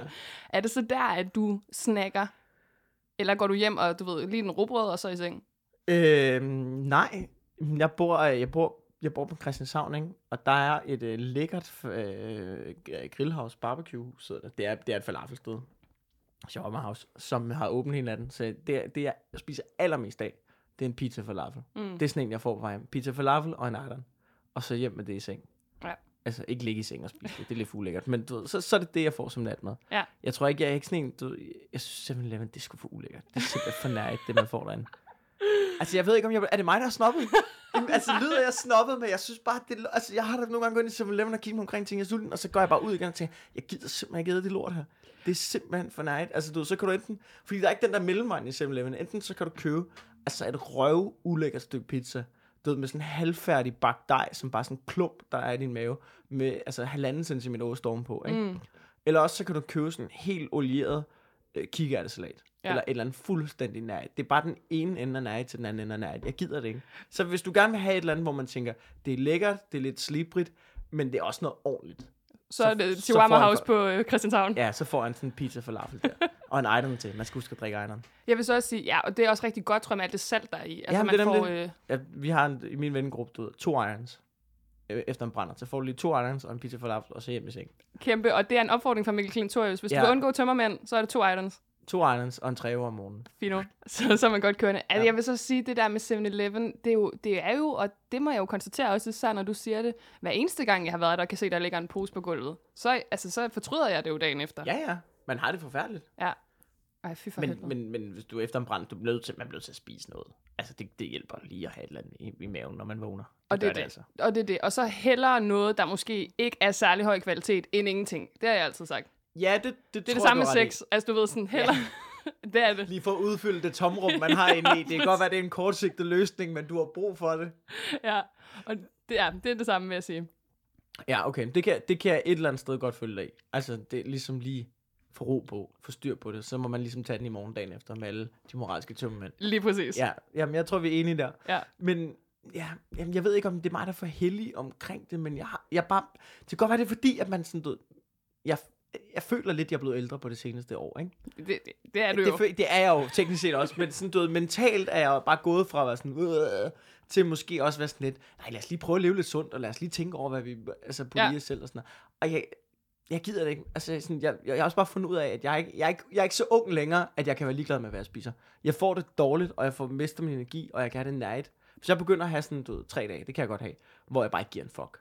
Speaker 4: er det så der, at du snakker? Eller går du hjem og, du ved, lige en rugbrød og så i seng?
Speaker 5: Øhm, nej, jeg bor, øh, jeg bor, jeg bor på Christianshavn, ikke? og der er et øh, lækkert øh, grillhouse, barbecue, sidder der. Det er, det er et falafelsted, Shawarmahouse, som har åbent hele natten. Så det, er- det jeg spiser allermest af, det er en pizza falafel.
Speaker 4: Mm.
Speaker 5: Det er sådan en, jeg får fra hjem. Pizza falafel og en ejderen. Og så hjem med det i seng.
Speaker 4: Ja.
Speaker 5: Altså, ikke ligge i seng og spise det. Det er lidt ulækkert. Men du ved, så, så er det det, jeg får som natmad.
Speaker 4: Ja.
Speaker 5: Jeg tror ikke, jeg er ikke sådan en... Du, ved, jeg synes simpelthen, at det skulle for ulækkert. Det er simpelthen for nærigt, det man får derinde. Altså, jeg ved ikke, om jeg... Er det mig, der er snobbet? Jamen, altså, lyder jeg snobbet, men jeg synes bare, det... er- Altså, jeg har da nogle gange gået ind i 7-Eleven og kigget mig omkring ting, jeg er sulten, og så går jeg bare ud igen og tænker, jeg gider simpelthen ikke æde det lort her. Det er simpelthen for nærigt. Altså, du, ved, så kan du enten... Fordi der er ikke den der mellemvej i 7-Eleven. Enten så kan du købe altså et røv ulækkert stykke pizza, du ved, med sådan en halvfærdig bagt dej, som bare er sådan en klump, der er i din mave, med altså halvanden centimeter ost ovenpå, ikke? Mm. Eller også så kan du købe sådan en helt olieret øh, kikærtesalat. Ja.
Speaker 4: Ja.
Speaker 5: Eller et eller andet fuldstændig nærigt. Det er bare den ene ende af nærigt til den anden ende af nærigt. Jeg gider det ikke. Så hvis du gerne vil have et eller andet, hvor man tænker, det er lækkert, det er lidt slibrigt, men det er også noget ordentligt.
Speaker 4: så er det
Speaker 5: så
Speaker 4: Chihuahua
Speaker 5: får han
Speaker 4: House
Speaker 5: for-
Speaker 4: på øh, Christianshavn. Ja.
Speaker 5: Ja, så får han sådan en pizza for falafel der. og en item til. Man skal huske at drikke ejeren.
Speaker 4: Jeg vil så også sige, ja, og det er også rigtig godt, tror jeg, med alt det salt, der er i. Altså,
Speaker 5: Jamen,
Speaker 4: man
Speaker 5: det er
Speaker 4: får,
Speaker 5: nemlig-
Speaker 4: øh,
Speaker 5: Ja, vi har en, i min vennegruppe, du ved, to irons. Øh, Efter en brænder. Så får du lige to irons og en pizza for falafel, og så hjem i seng.
Speaker 4: kæmpe, og det er en opfordring fra Mikkel Klintorius. Hvis ja.
Speaker 5: Ja.
Speaker 4: du vil undgå tømmermænd, så er det to items.
Speaker 5: To irons og en træver om morgenen.
Speaker 4: Fino. Så, så er man godt kørende. Altså, ja.
Speaker 5: Ja.
Speaker 4: jeg vil så sige, det der med 7-Eleven, det, er jo- det er jo, og det må jeg jo konstatere også især, når du siger det, hver eneste gang, jeg har været der og kan se, der ligger en pose på gulvet, så, altså, så fortryder jeg det jo dagen efter.
Speaker 5: Ja, ja. Man har det forfærdeligt.
Speaker 4: ja. Ej, fy for
Speaker 5: Men,
Speaker 4: helvede.
Speaker 5: men, men hvis du er efter en brand, du er nødt til, man er nødt til at spise noget. Altså, det, det hjælper lige at have et eller andet i, i maven, når man vågner. Det altså.
Speaker 4: og det, altså.
Speaker 5: gør
Speaker 4: er det, og det er det. Og så hellere noget, der måske ikke er særlig høj kvalitet, end ingenting. Det har jeg altid sagt.
Speaker 5: Ja, det, det,
Speaker 4: Det er det samme med sex. Altså, du ved sådan, heller... Ja. det er det.
Speaker 5: Lige for at udfylde det tomrum, man har inde i. Det kan godt være, det er en kortsigtet løsning, men du har brug for det.
Speaker 4: Ja. Og det er, det er det samme, vil jeg sige.
Speaker 5: Ja, okay. Det kan, det kan jeg et eller andet sted godt følge dig i. Altså, det er ligesom lige få ro på, få styr på det. Så må man ligesom tage den i morgen dagen efter med alle de moralske tømmermænd.
Speaker 4: Lige præcis.
Speaker 5: Ja, jamen, jeg tror, vi er enige der.
Speaker 4: Ja.
Speaker 5: Men ja, jamen, jeg ved ikke, om det er mig, der er for heldig omkring det, men jeg, har, jeg bare... Det kan godt være, det er fordi, at man sådan, du, ved, jeg, jeg føler lidt, jeg er blevet ældre på det seneste år, ikke?
Speaker 4: Det, det, det er du
Speaker 5: det,
Speaker 4: jo.
Speaker 5: fø- det er jeg jo teknisk set også, men sådan, du ved, mentalt er jeg jo bare gået fra at være sådan, øh, til måske også være sådan lidt, nej, lad os lige prøve at leve lidt sundt, og lad os lige tænke over, hvad vi altså, på
Speaker 4: Ja.
Speaker 5: ja. lige os selv og sådan noget. Og jeg, jeg gider det ikke. Altså, sådan, jeg, jeg, jeg har også bare fundet ud af, at jeg, er ikke, jeg, er ikke, jeg er ikke så ung længere, at jeg kan være ligeglad med, hvad jeg spiser. Jeg får det dårligt, og jeg får mister min energi, og jeg kan have det night. Hvis jeg begynder at have sådan, du ved, tre dage, det kan jeg godt have, hvor jeg bare ikke giver en fuck.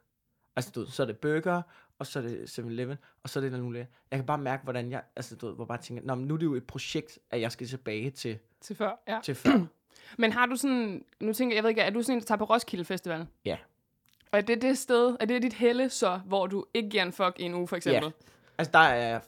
Speaker 5: Altså, du ved, så er det burger, og så er det 7-Eleven, og så er det den Jeg kan bare mærke, hvordan jeg, altså, du ved, hvor jeg bare tænker, Nå, men nu er det jo et projekt, at jeg skal tilbage til,
Speaker 4: Til før, ja.
Speaker 5: til før.
Speaker 4: Men har du sådan, nu tænker jeg, jeg ved ikke, er du sådan en, der tager på Roskilde Festival?
Speaker 5: Ja.
Speaker 4: Og er det det sted, er det dit helle så, hvor du ikke giver en fuck i en uge, for eksempel?
Speaker 5: Ja. Altså, der er jeg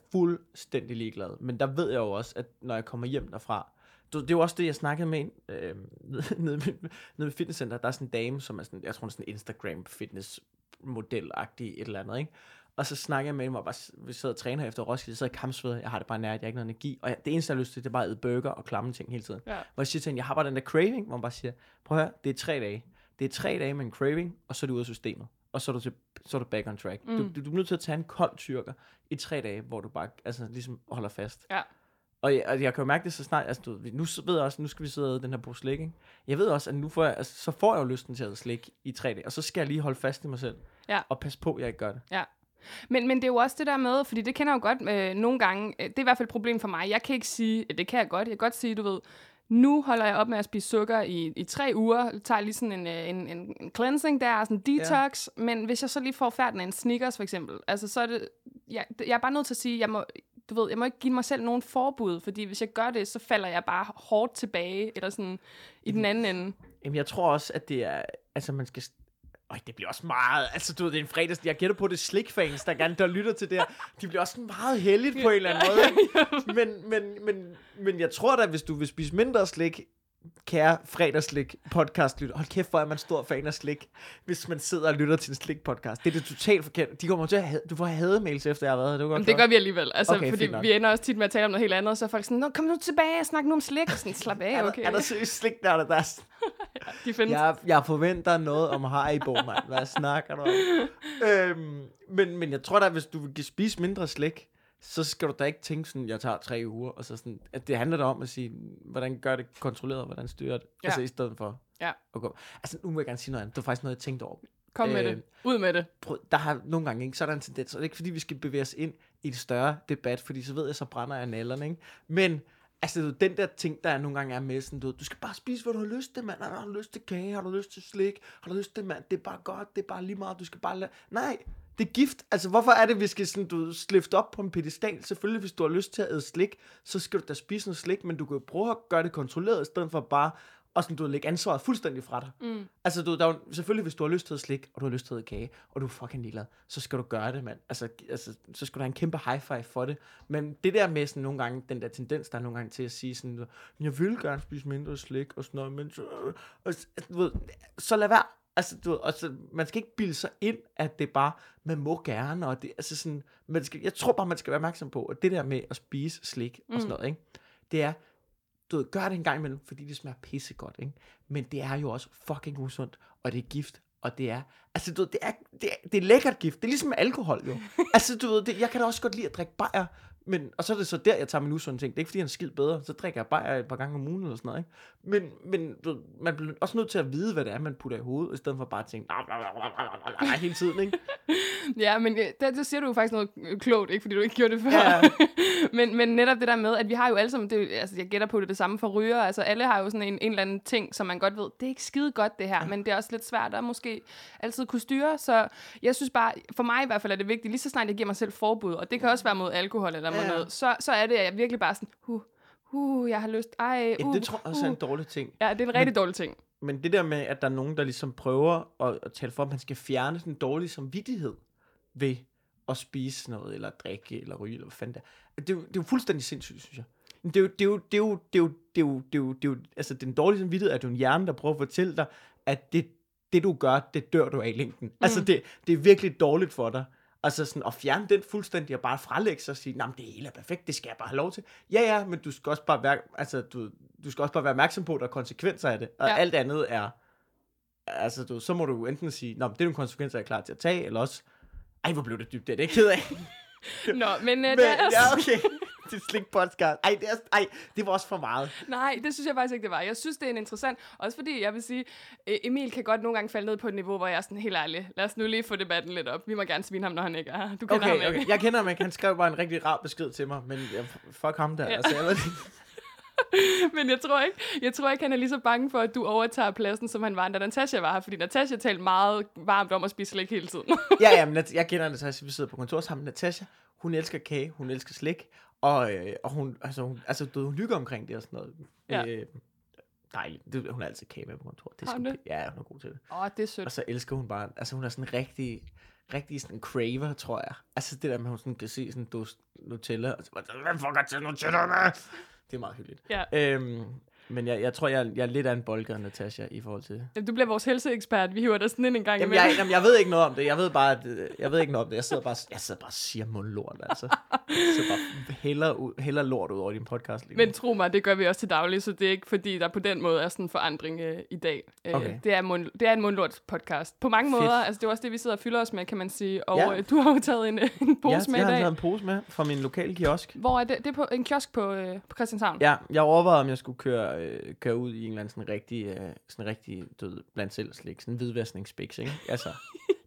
Speaker 5: fuldstændig ligeglad. Men der ved jeg jo også, at når jeg kommer hjem derfra, du, det er jo også det, jeg snakkede med en øh, nede, nede, ved- nede ved fitnesscenter. Der er sådan en dame, som er sådan, jeg tror, hun er sådan en Instagram fitness model agtig et eller andet, ikke? Og så snakker jeg med hende, og bare, s- vi sidder og træner efter Roskilde, så sidder jeg kamsved, jeg har det bare nært, jeg har ikke noget energi, og jeg, det eneste, jeg har lyst til, det er bare at æde burger og klamme ting hele tiden.
Speaker 4: Ja.
Speaker 5: Hvor jeg siger til hende, jeg har bare den der craving, hvor man bare siger, prøv at høre, det er tre dage. Det er tre dage med en craving, og så er du ude af systemet. Og så er du, til, så er du back on track. Mm. Du, du, du, er nødt til at tage en kold tyrker i tre dage, hvor du bare altså, ligesom holder fast.
Speaker 4: Ja.
Speaker 5: Og jeg, og jeg kan jo mærke det så snart, altså du, ved, nu s- ved jeg også, nu skal vi sidde og æde den her pose slik, ikke? Jeg ved også, at nu får jeg, altså, så får jeg jo lysten til at æde slik i tre dage, og så skal jeg lige holde fast i mig selv.
Speaker 4: Ja.
Speaker 5: Og passe på, at jeg ikke gør det.
Speaker 4: Men, men det er jo også det der med, fordi det kender jeg jo godt øh, nogle gange, øh, det er i hvert fald et problem for mig, jeg kan ikke sige, øh, det kan jeg godt, jeg kan godt sige, du ved, nu holder jeg op med at spise sukker i, i tre uger, tager lige sådan en, øh, en, en, en cleansing der, sådan en detox, ja. men hvis jeg så lige får færden af en Snickers for eksempel, altså så er det, jeg, jeg er bare nødt til at sige, jeg må, du ved, jeg må ikke give mig selv nogen forbud, fordi hvis jeg gør det, så falder jeg bare hårdt tilbage, eller sådan i den anden ende.
Speaker 5: Jamen, jeg tror også, at det er... Altså, man skal... Øj, det bliver også meget... Altså, du ved, det er en fredags... Jeg gætter på, det er slikfans, der gerne der lytter til det her. De bliver også meget heldigt på en eller anden måde. ikke? Men, men, men, men jeg tror da, hvis du vil spise mindre slik, kære fredagslik podcast lytter. Hold kæft, hvor er man stor fan af slik, hvis man sidder og lytter til en slik podcast. Det er det totalt forkert. De kommer til at have, du får hademails efter, jeg har været her. Det, er godt
Speaker 4: Jamen, det
Speaker 5: klart.
Speaker 4: gør vi alligevel, altså, okay,
Speaker 5: Okay,
Speaker 4: fordi
Speaker 5: fint nok.
Speaker 4: vi ender også tit med at tale om noget helt andet, og så er folk sådan, Nå, kom nu tilbage og snak nu om slik, sådan, slap af, okay.
Speaker 5: Er der, er der seriøst slik, der er der? der er sådan-
Speaker 4: De findes.
Speaker 5: Jeg, jeg forventer noget om Haribo, mand. Hvad snakker du om? Øhm, men, men jeg tror da, hvis du vil spise mindre slik, så skal du da ikke tænke sådan, jeg tager tre uger, og så sådan, at det handler da om at sige, hvordan gør jeg det kontrolleret, og hvordan styrer jeg
Speaker 4: Ja.
Speaker 5: det, ja. altså i stedet for.
Speaker 4: Ja.
Speaker 5: at gå. Altså, nu må jeg gerne sige noget andet. Det var faktisk noget, jeg tænkte over.
Speaker 4: Kom med
Speaker 5: Øh,
Speaker 4: det. Ud med det.
Speaker 5: Prøv, der har nogle gange ikke sådan en tendens, og det er ikke fordi, vi skal bevæge os ind i et større debat, fordi så ved jeg, så brænder jeg nallerne, ikke? Men altså, du ved, den der ting, der nogle gange er med, sådan, du, ved, du skal bare spise, hvad du har lyst til, mand. Har du lyst til kage? Har du lyst til slik? Har du lyst til, mand? Det er bare godt, det er bare lige meget, du skal bare lade... Nej, det er gift. Altså, hvorfor er det, vi skal sådan, du ved, slifte op på en pedestal? Selvfølgelig, hvis du har lyst til at æde slik, så skal du da spise noget slik, men du kan jo prøve at gøre det kontrolleret, i stedet for bare og sådan, du ved, lægge ansvaret fuldstændig fra dig. Mm. Altså, du, ved, der er, jo- selvfølgelig, hvis du har lyst til at slik, og du har lyst til at kage, og du er fucking ligeglad, så skal du gøre det, mand. Altså, altså, så skal du have en kæmpe high five for det. Men det der med sådan nogle gange, den der tendens, der er nogle gange til at sige sådan, "Men jeg vil gerne spise mindre slik, og sådan noget, men så, og, s- altså, du ved, så lad være. Altså, du ved, og så, man skal ikke bilde sig ind, at det er bare, man må gerne, og det, altså sådan, man skal, jeg tror bare, man skal være opmærksom på, at det der med at spise slik og sådan noget, ikke? det er, du ved, gør det en gang imellem, fordi det smager pissegodt, ikke? Men det er jo også fucking usundt, og det er gift, Og det er, altså du ved, det er, det er, det er lækkert gift. Det er ligesom med alkohol jo. altså du ved, det, jeg kan da også godt lide at drikke bajer, men, og så er det så der, jeg tager min usunde ting. Det er ikke fordi, han er skid bedre, så drikker jeg bajer et par gange om ugen eller sådan noget. Ikke? Men, men du ved, man bliver også nødt til at vide, hvad det er, man putter i hovedet, i stedet for bare at tænke, "Nah, nah, nah, nah, nah, nah, nah," hele tiden, ikke?
Speaker 4: Ja, men øh, der, der siger du jo faktisk noget øh, klogt, ikke? Fordi du ikke gjorde det før.
Speaker 5: Ja.
Speaker 4: Ja. men, men netop det der med, at vi har jo alle sammen, det, er jo- altså jeg gætter på det er det samme for ryger, altså alle har jo sådan en, en eller anden ting, som man godt ved, det er ikke skide godt det her, ja. men det er også lidt svært at måske altid kunne styre, så jeg synes bare, for mig i hvert fald er det vigtigt, lige så snart jeg giver mig selv forbud, og det kan også være mod alkohol eller mod
Speaker 5: Ja.
Speaker 4: noget, så, så er det, at jeg virkelig bare sådan, huh, huh, jeg har lyst, ej,
Speaker 5: Ja,
Speaker 4: uh,
Speaker 5: det tror jeg også er en
Speaker 4: uh.
Speaker 5: dårlig ting.
Speaker 4: Ja, det er en rigtig dårlig ting.
Speaker 5: Men det der med, at der er nogen, der ligesom prøver at, at tale for, at man skal fjerne den dårlige samvittighed ved at spise noget, eller drikke, eller ryge, eller hvad fanden det er. Altså, Det er, jo, det er jo fuldstændig sindssygt, synes jeg. Men Det er jo, det er jo, det er jo, det er jo, det er jo, det er jo, det er jo altså den dårlige samvittighed er jo en hjerne, der prøver at fortælle dig, at det, det du gør, det dør du af i længden. Mm. Altså det, det er virkelig dårligt for dig. Altså sådan at fjerne den fuldstændig og bare frelægge sig og sige, nej, det hele er perfekt, det skal jeg bare have lov til. Ja, ja, men du skal også bare være, altså, du, du skal også bare være opmærksom på, at der er konsekvenser af det. Og ja.
Speaker 4: Ja.
Speaker 5: alt andet er, altså du, så må du jo enten sige, nå, men det er nogle konsekvenser, jeg er klar til at tage, eller også, ej, hvor blev det dybt, det er det ked af.
Speaker 4: Nå, men, øh,
Speaker 5: Men,
Speaker 4: det er,
Speaker 5: ja, okay. Det er slik podcast. Ej det, er, ej, det var også for meget.
Speaker 4: Nej, det synes jeg faktisk ikke, det var. Jeg synes, det er en interessant. Også fordi, jeg vil sige, øh, Emil kan godt nogle gange falde ned på et niveau, hvor jeg er sådan helt ærlig. Lad os nu lige få debatten lidt op. Vi må gerne svine ham, når han ikke er her. Du kender
Speaker 5: Okay,
Speaker 4: ham ikke.
Speaker 5: okay. Jeg kender ham ikke. Han skrev bare en rigtig rar besked til mig, men jeg, fuck ham der. Ja. Altså, jeg ved, det-
Speaker 4: Men jeg tror, ikke, jeg tror ikke, han er lige så bange for, at du overtager pladsen, som han var, da Natasha var her. Fordi Natasha talte meget varmt om at spise slik hele tiden.
Speaker 5: ja, ja, men Nat- jeg kender Natasha. Vi sidder på kontoret sammen. Natasha, hun elsker kage, hun elsker slik, og, øh, og hun, altså, hun, altså, du, ved, hun hygger omkring det og sådan noget.
Speaker 4: Ja.
Speaker 5: Øh, dejligt. Det, hun har altid kage med på kontoret. Det er
Speaker 4: Har hun
Speaker 5: sgu
Speaker 4: det?
Speaker 5: p- Ja, hun er god til det.
Speaker 4: Åh, oh, det er
Speaker 5: Og
Speaker 4: sødt.
Speaker 5: så elsker hun bare, altså hun er sådan en rigtig, rigtig sådan en craver, tror jeg. Altså det der med, at hun sådan kan se sådan en dos Nutella, og så bare, hvad fuck er til Nutella med? Det er meget hyggeligt.
Speaker 4: Ja.
Speaker 5: Øhm, men jeg, jeg tror, jeg, jeg er lidt af en bolker, Natasha, i forhold til det.
Speaker 4: Jamen, Du bliver vores helseekspert. Vi hiver dig sådan ind en gang
Speaker 5: Jamen,
Speaker 4: imellem.
Speaker 5: jeg, jamen, jeg ved ikke noget om det. Jeg ved bare, at, øh, jeg ved ikke noget om det. Jeg sidder bare, jeg sidder bare og siger mundlort, altså. Så bare hælder, ud, hælder lort ud over din podcast lige nu.
Speaker 4: Men tro mig, det gør vi også til daglig, så det er ikke fordi, der på den måde er sådan en forandring øh, i dag. Øh,
Speaker 5: Okay.
Speaker 4: det, er mund, det er en mundlort podcast. På mange
Speaker 5: Fedt.
Speaker 4: måder, altså det er også det, vi sidder og fylder os med, kan man sige. Og
Speaker 5: Ja.
Speaker 4: ja. øh, du har jo taget en, øh, en pose
Speaker 5: jeg,
Speaker 4: med i
Speaker 5: jeg har
Speaker 4: dag.
Speaker 5: taget en pose med fra min lokale kiosk.
Speaker 4: Hvor er det? Det er på en kiosk på, øh, på Christianshavn.
Speaker 5: Ja, jeg overvejede, om jeg skulle køre, øh, køre ud i en eller anden sådan rigtig, øh, sådan rigtig du ved, blandt selv slik, sådan hvidvaskningsbiks, ikke? Altså,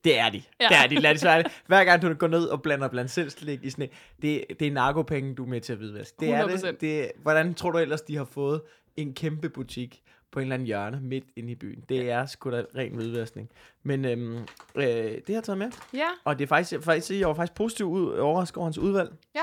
Speaker 5: det er de. Ja.
Speaker 4: Ja.
Speaker 5: Det er de, lad det være det. Hver gang du går ned og blander blandt selv slik i sådan en, det, det er narkopenge, du er med til at hvidvaske. Det er det.
Speaker 4: 100%.
Speaker 5: det. Hvordan tror du ellers, de har fået en kæmpe butik på en eller anden hjørne midt inde i byen? Det er sgu da ren hvidvaskning. Men øhm, øh, det har jeg taget med.
Speaker 4: ja.
Speaker 5: Og det er faktisk, faktisk, jeg var faktisk positiv ud, overrasket over hans udvalg.
Speaker 4: Ja.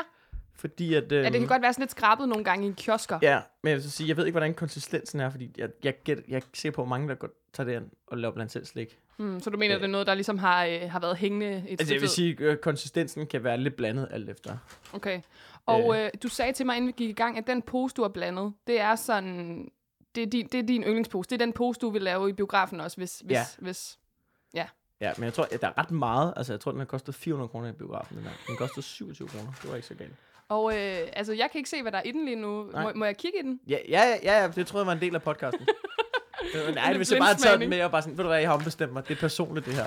Speaker 5: Fordi at... Øhm,
Speaker 4: Ja, det kan godt være sådan lidt skrabet nogle gange i kiosker.
Speaker 5: Ja, men jeg vil så sige, jeg ved ikke, hvordan konsistensen er, fordi jeg, jeg, gæt, jeg ser på, hvor mange, der går, tager det an og laver blandt selv slik.
Speaker 4: Mm, så du mener, det er noget, der ligesom har, øh, har været hængende et
Speaker 5: Altså, jeg vil
Speaker 4: stykke tid?
Speaker 5: sige, øh, konsistensen kan være lidt blandet alt efter.
Speaker 4: Okay. Og øh, du sagde til mig, inden vi gik i gang, at den pose, du har blandet, det er sådan... Det er, din, det er din yndlingspose. Det er den pose, du vil lave i biografen også, hvis... hvis,
Speaker 5: Ja.
Speaker 4: hvis
Speaker 5: Ja, men jeg tror, at der er ret meget. Altså, jeg tror, den har kostet 400 kroner i biografen. Den, der. den kostede 27 kroner. Det var ikke så galt.
Speaker 4: Og øh, altså, jeg kan ikke se, hvad der er i den lige nu.
Speaker 5: Nej.
Speaker 4: Må, må jeg kigge i den?
Speaker 5: Ja, ja, ja, ja, ja, det tror jeg var en del af podcasten. Det var- Nej,
Speaker 4: En
Speaker 5: hvis jeg bare tager den
Speaker 4: blindsmagning. Mm.
Speaker 5: med og bare sådan, ved du hvad, jeg har ombestemt mig. Det er personligt, det her.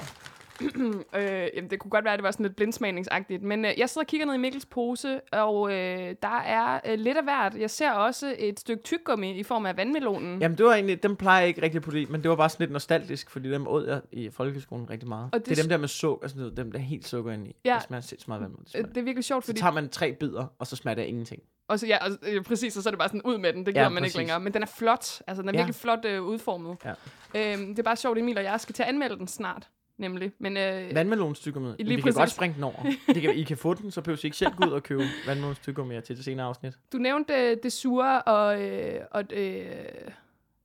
Speaker 4: Øh, jamen, det kunne godt være, at det var sådan lidt blindsmagningsagtigt. Men øh, jeg sidder og kigger ned i Mikkels pose, og øh, der er øh, lidt af hvert. Jeg ser også et stykke tyggegummi i form af vandmelonen.
Speaker 5: Jamen, det var egentlig, dem plejer jeg ikke rigtig på det, men det var bare sådan lidt nostalgisk, fordi dem åd jeg i folkeskolen rigtig meget. Og
Speaker 4: Og
Speaker 5: det,
Speaker 4: det
Speaker 5: det, er
Speaker 4: s-
Speaker 5: dem der med sukker, altså, du ved, dem der er helt sukker ind i.
Speaker 4: Ja.
Speaker 5: Det smager sindssygt meget vandmelon. Det smager
Speaker 4: Øh, Det er virkelig sjovt,
Speaker 5: Så
Speaker 4: fordi...
Speaker 5: tager man tre bidder, og så smager det af ingenting.
Speaker 4: Og så, ja, og, øh, præcis, og så er det bare sådan ud med den. Det
Speaker 5: Ja,
Speaker 4: gider ja, man
Speaker 5: præcis.
Speaker 4: ikke længere. Men den er flot. Altså, den er
Speaker 5: Ja.
Speaker 4: ja. virkelig flot øh, udformet.
Speaker 5: Ja.
Speaker 4: Øhm, det er bare sjovt, Emil og jeg skal til at anmelde den snart, nemlig. Men øh,
Speaker 5: Vandmelonstykker med.
Speaker 4: Lige
Speaker 5: Vi kan godt
Speaker 4: præcis.
Speaker 5: springe den over. Det kan, I kan få den, så behøver I ikke selv gå ud og købe vandmelonstykker med til det senere afsnit.
Speaker 4: du nævnte øh, det sure og... Øh, og øh,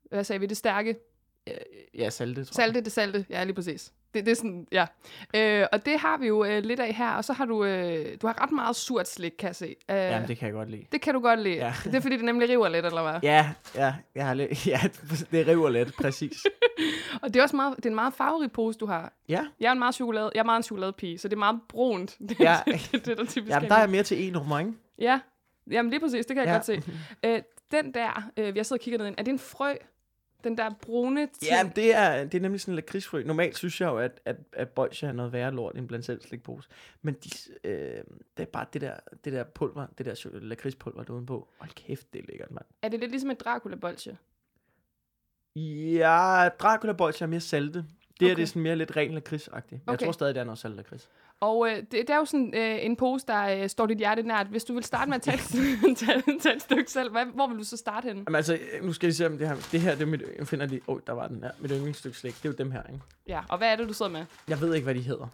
Speaker 4: hvad sagde vi? Det stærke.
Speaker 5: Ja, salte, tror jeg.
Speaker 4: Salte, det salte. Ja, lige præcis. Det, det er sådan, ja. Øh, og det har vi jo øh, lidt af her, og så har du, øh, du har ret meget surt slik, kan jeg se. Øh,
Speaker 5: Jamen,
Speaker 4: det...
Speaker 5: det kan jeg godt lide.
Speaker 4: det kan du godt lide.
Speaker 5: Ja.
Speaker 4: Ja. Det er fordi, det nemlig river lidt, eller hvad? Ja.
Speaker 5: Ja, ja, jeg har lidt, ja, det river lidt, præcis.
Speaker 4: Og det er også meget, det er en meget farverig pose, du har.
Speaker 5: Ja,
Speaker 4: Jeg er en meget, chokolade, jeg er meget en chokoladepige, så det er meget brunt. Det,
Speaker 5: Ja.
Speaker 4: ja. det, det, det der typisk
Speaker 5: Jamen, der er jeg mere til en nummer, ikke?
Speaker 4: Ja, jamen lige præcis, det kan jeg
Speaker 5: Ja.
Speaker 4: øh, ja. godt se. Æ, den der, øh, jeg sidder og kigger ned i, er det en frø? Den der brune ting.
Speaker 5: Ja, men det er, det er nemlig sådan en lakridsfrø. Normalt synes jeg jo, at, at, at bolsje er noget værre lort end blandt selv slikpose. Men de, øh, det er bare det der, det der pulver, det der chok- lakridspulver, der er udenpå. Hold kæft, det er lækkert, mand.
Speaker 4: Er det lidt ligesom et Dracula-bolsje?
Speaker 5: Ja, dracula bolsje er mere salte. Det okay. er
Speaker 4: Okay.
Speaker 5: det er sådan mere lidt ren lakridsagtigt. Okay. Jeg
Speaker 4: Okay.
Speaker 5: tror stadig, der er noget salt lakrids.
Speaker 4: Og øh, det, det er jo sådan øh, en pose, der øh, står dit hjerte nært. Hvis du vil starte med at tage, et- tage, tage et stykke selv, hvad, hvor vil du så starte henne?
Speaker 5: Jamen altså, nu skal jeg se, om det her, det her det er mit, jeg finder lige, åh, oh, der var den der, mit yndlingsstykke slik, det er jo dem her, ikke?
Speaker 4: Ja, og hvad er det, du sidder med? Jeg,
Speaker 5: Jeg ved ikke, hvad de hedder.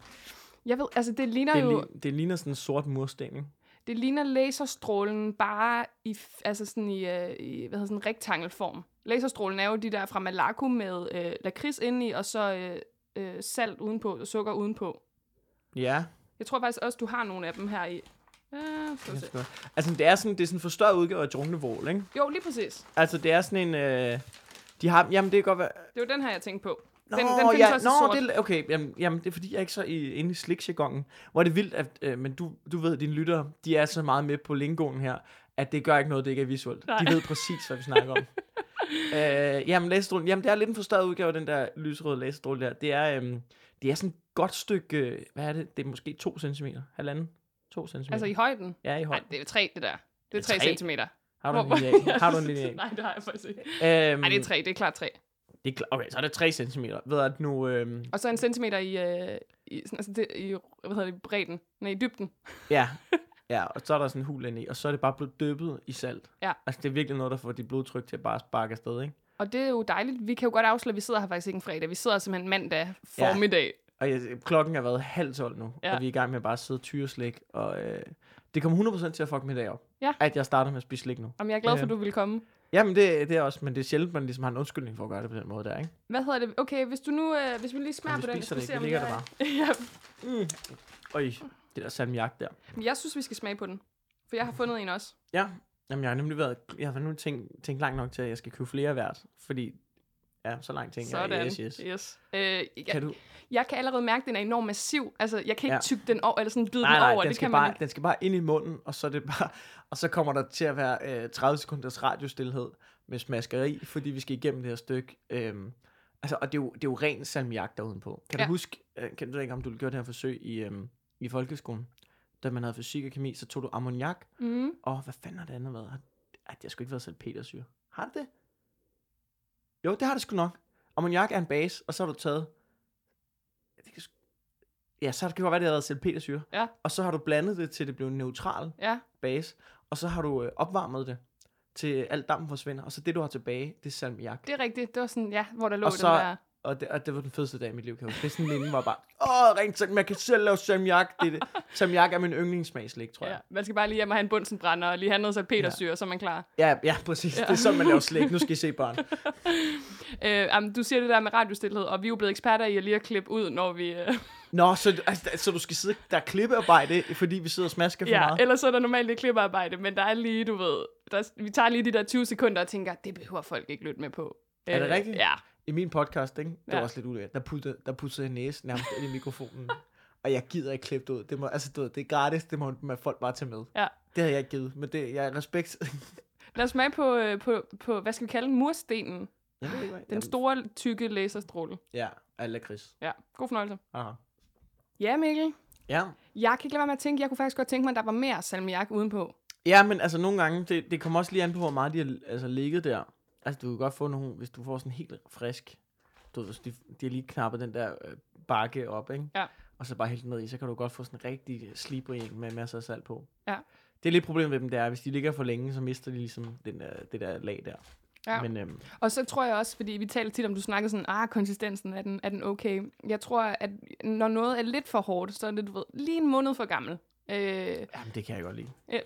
Speaker 4: ved, altså det ligner
Speaker 5: Det,
Speaker 4: jo,
Speaker 5: li- det ligner sådan en sort mursten, ikke?
Speaker 4: det ligner laserstrålen bare i, f- altså sådan i, øh, i hvad hedder sådan en rektangelform. Laserstrålen er jo de der fra Malaco med øh, lakrids indeni, og så øh, øh, salt udenpå, og sukker udenpå.
Speaker 5: Ja,
Speaker 4: Jeg tror faktisk også, du har nogle af dem her i. Øh, skal vi se.
Speaker 5: altså det er sådan, det er sådan en forstørret udgave af Drunkenvål, ikke?
Speaker 4: jo, lige præcis.
Speaker 5: Altså det er sådan en, øh, de har, jamen det kan godt være,
Speaker 4: Det var den her, jeg tænkte på.
Speaker 5: Nå,
Speaker 4: den, den findes
Speaker 5: ja,
Speaker 4: også i
Speaker 5: nå,
Speaker 4: sort.
Speaker 5: det, er- okay, jamen, jamen, det er fordi, jeg er ikke så i, inde i sliksjargonen, hvor er det vildt, at, øh, men du, du ved, dine lyttere, de er så meget med på lingoen her, at det gør ikke noget, det ikke er visuelt. Nej.
Speaker 4: Nej.
Speaker 5: De ved præcis, hvad vi snakker om. øh, jamen, laserstrålen, jamen, det er lidt en forstørret udgave af den der lyserøde laserstråle der. Det er, øh, det er sådan et godt stykke, øh, hvad er det, det er måske 2 cm, halvanden, 2 cm.
Speaker 4: Altså i højden?
Speaker 5: ja, i
Speaker 4: Nej,
Speaker 5: højden.
Speaker 4: det er tre, det der. Det er
Speaker 5: Det er
Speaker 4: tre
Speaker 5: tre?
Speaker 4: centimeter.
Speaker 5: Har du en
Speaker 4: Hvor-
Speaker 5: linje af? Har du en linje af?
Speaker 4: Nej, det har jeg faktisk ikke.
Speaker 5: Øhm,
Speaker 4: Nej, det er tre. Det er klart tre.
Speaker 5: Det er, klar- okay, så er det 3 cm. Ved du, at nu, øh,
Speaker 4: Og så en centimeter i, øh, i, sådan, altså det, i hvad hedder det, bredden. Nej, i dybden.
Speaker 5: Ja, ja, og så er der sådan en hul ind i, og så er det bare blevet dyppet i salt.
Speaker 4: Ja.
Speaker 5: Altså, det er virkelig noget, der får dit blodtryk til at bare sparke afsted, ikke?
Speaker 4: Og det er jo dejligt. Vi kan jo godt afsløre, at vi sidder her faktisk ikke en fredag. Vi sidder simpelthen mandag formiddag.
Speaker 5: Og jeg, klokken er været halv tolv nu, ja.
Speaker 4: Ja.
Speaker 5: og vi er i gang med at bare sidde og tyre slik, og øh, det kommer 100% til at fuck min dag op.
Speaker 4: Ja.
Speaker 5: At jeg starter med at spise slik nu.
Speaker 4: Om jeg er glad for,
Speaker 5: Ja.
Speaker 4: at du vil komme.
Speaker 5: Jamen, det, det er også, men det er sjældent, man ligesom har en undskyldning for at gøre det på den måde der, ikke?
Speaker 4: Hvad hedder det? Okay, hvis du nu, øh, hvis vi lige smager
Speaker 5: vi
Speaker 4: på den. skal
Speaker 5: spiser det
Speaker 4: se,
Speaker 5: ikke.
Speaker 4: om
Speaker 5: Vi lægger
Speaker 4: jeg-
Speaker 5: Øj, det der salmiak der.
Speaker 4: Ja, men jeg synes, vi skal smage på den. For jeg har fundet en også.
Speaker 5: Ja, jamen, jeg har nemlig været, jeg har nu tænkt, tænkt langt nok til, at jeg skal købe flere hvert, fordi, ja, så langt tænker jeg,
Speaker 4: Sådan.
Speaker 5: yes, yes.
Speaker 4: yes. Øh, jeg,
Speaker 5: Kan du,
Speaker 4: jeg kan allerede mærke, at den er enormt massiv. Altså, jeg kan ikke
Speaker 5: Ja.
Speaker 4: ja. tygge den over, eller sådan bide
Speaker 5: Nej,
Speaker 4: den
Speaker 5: nej,
Speaker 4: over.
Speaker 5: den,
Speaker 4: det
Speaker 5: skal
Speaker 4: kan
Speaker 5: bare,
Speaker 4: man ikke.
Speaker 5: den skal bare ind i munden, og så, er det bare, og så kommer der til at være øh, 30 sekunders radiostillhed med smaskeri, fordi vi skal igennem det her stykke. Øhm, altså, og det er, jo, det er jo ren salmiak derude på. Kan ja.
Speaker 4: Ja.
Speaker 5: du huske, øh, kan du ved ikke, om du gjorde det her forsøg i, øhm, i folkeskolen? Da man havde fysik og kemi, så tog du ammoniak.
Speaker 4: Mm.
Speaker 5: Og hvad fanden har det andet været? Har- Ej, det har sgu ikke været salpetersyre. Har det det? Jo, det har det sgu nok. Ammoniak er en base, og så har du taget... Ja, det kan sgu... ja så kan det godt være, det har været salpetersyre.
Speaker 4: Ja.
Speaker 5: Og så har du blandet det, til det blev en neutral
Speaker 4: Ja.
Speaker 5: base. Og så har du øh, opvarmet det, til alt dampen forsvinder. Og så det, du har tilbage, det er salmiak.
Speaker 4: Det er rigtigt. Det var sådan, ja, hvor der lå
Speaker 5: Og så-
Speaker 4: den der...
Speaker 5: Og det, og det var den fedeste dag i mit liv, kan jeg huske. Det er sådan, minden var bare, åh, rent salmiak, man kan selv lave salmiak. Det, er det. Salmiak er min yndlingssmagslæg, tror jeg.
Speaker 4: Ja, man skal bare lige hjem og have en bunsenbrænder, og lige have noget salpetersyre, ja. så er man klar.
Speaker 5: Ja, ja, præcis. Ja. Det er sådan, man laver slik. Nu skal I se, børn.
Speaker 4: Øh, jamen, du siger det der med radiostilhed, og vi er jo blevet eksperter i at lige at klippe ud, når vi... Øh,
Speaker 5: Nå, så, du- altså, så du skal sidde, der er klippearbejde, fordi vi sidder og smasker for ja,
Speaker 4: ja,
Speaker 5: meget?
Speaker 4: ellers så er der normalt lidt klippearbejde, men der er lige, du ved... Der, vi tager lige de der 20 sekunder og tænker, det behøver folk ikke lytte med på. Øh,
Speaker 5: Er det rigtigt?
Speaker 4: Ja.
Speaker 5: I min podcast, ikke? det ja. var
Speaker 4: Ja.
Speaker 5: også lidt ulækkert, der puttede, der puttede jeg næsen nærmest ind i mikrofonen. Og jeg gider ikke klippe det ud. Det, må, altså, du ved, det er gratis, det må man folk bare tage med.
Speaker 4: Ja.
Speaker 5: Det havde jeg ikke givet, men det, jeg har respekt.
Speaker 4: Lad os smage på, øh, på, på, hvad skal vi kalde den? murstenen?
Speaker 5: jeg ved ikke, hvad-
Speaker 4: Den store, tykke laserstråle.
Speaker 5: Ja, alle Chris.
Speaker 4: Ja, god fornøjelse.
Speaker 5: Aha.
Speaker 4: Ja, Mikkel.
Speaker 5: Ja.
Speaker 4: Jeg kan ikke lade være med at tænke, jeg kunne faktisk godt tænke mig, at der var mere salmiak udenpå.
Speaker 5: ja, men altså nogle gange, det, det kommer også lige an på, hvor meget de har altså, ligget der. Altså, du kan godt få nogle, hvis du får sådan helt frisk, du ved, hvis de, de har lige knappet den der øh, bakke op, ikke?
Speaker 4: Ja.
Speaker 5: og så bare hælde den ned i, så kan du godt få sådan en rigtig slibrig en med masser af salt på.
Speaker 4: Ja.
Speaker 5: Det er lidt problemet ved dem, det er, at hvis de ligger for længe, så mister de ligesom den der, det der lag der.
Speaker 4: Ja.
Speaker 5: Men øhm,
Speaker 4: Og så tror jeg også, fordi vi taler tit om, du snakkede sådan, ah, konsistensen, er den, er den okay? Jeg tror, at når noget er lidt for hårdt, så er det, du ved, lige en måned for gammel. Øh,
Speaker 5: jamen, det kan jeg godt lide.
Speaker 4: øh,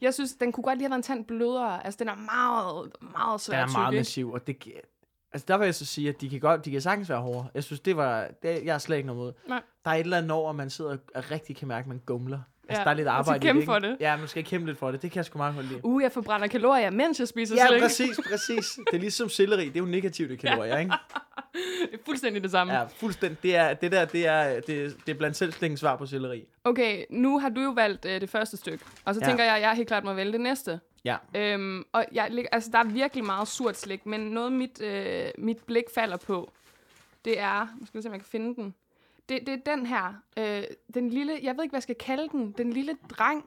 Speaker 4: jeg synes, den kunne godt lige have været en tand blødere. Altså, den er meget, meget
Speaker 5: Den
Speaker 4: svær at
Speaker 5: er meget
Speaker 4: tygge.
Speaker 5: massiv, og det kan- Altså, der vil jeg så sige, at de kan, godt, de kan sagtens være hårde. Jeg synes, det var... Det, jeg er slet ikke noget mod.
Speaker 4: Nej.
Speaker 5: Der er et eller andet over, man sidder og rigtig kan mærke, at man gumler. Altså,
Speaker 4: Ja,
Speaker 5: der er lidt
Speaker 4: man skal
Speaker 5: arbejde i
Speaker 4: kæmpe
Speaker 5: ikke?
Speaker 4: for det.
Speaker 5: Ja, man skal kæmpe lidt for det. Det kan jeg sgu meget godt lide.
Speaker 4: Uh, jeg forbrænder kalorier, mens jeg spiser
Speaker 5: Ja,
Speaker 4: slik.
Speaker 5: præcis, præcis. Det er ligesom selleri. Det er jo negativt i kalorier, ikke?
Speaker 4: Det er fuldstændig det samme.
Speaker 5: Ja, fuldstændig. Det, er, det der, det er, det, det er blandt selv slikens svar på selleri.
Speaker 4: Okay, nu har du jo valgt øh, det første stykke. Og så
Speaker 5: Ja.
Speaker 4: tænker jeg, at jeg helt klart må vælge det næste.
Speaker 5: Ja.
Speaker 4: Øhm, og jeg, lig- altså, der er virkelig meget surt slik, men noget mit, øh, mit blik falder på, det er, nu skal vi se, om jeg kan finde den. Det, det er den her, øh, den lille, jeg ved ikke, hvad jeg skal kalde den, den lille dreng.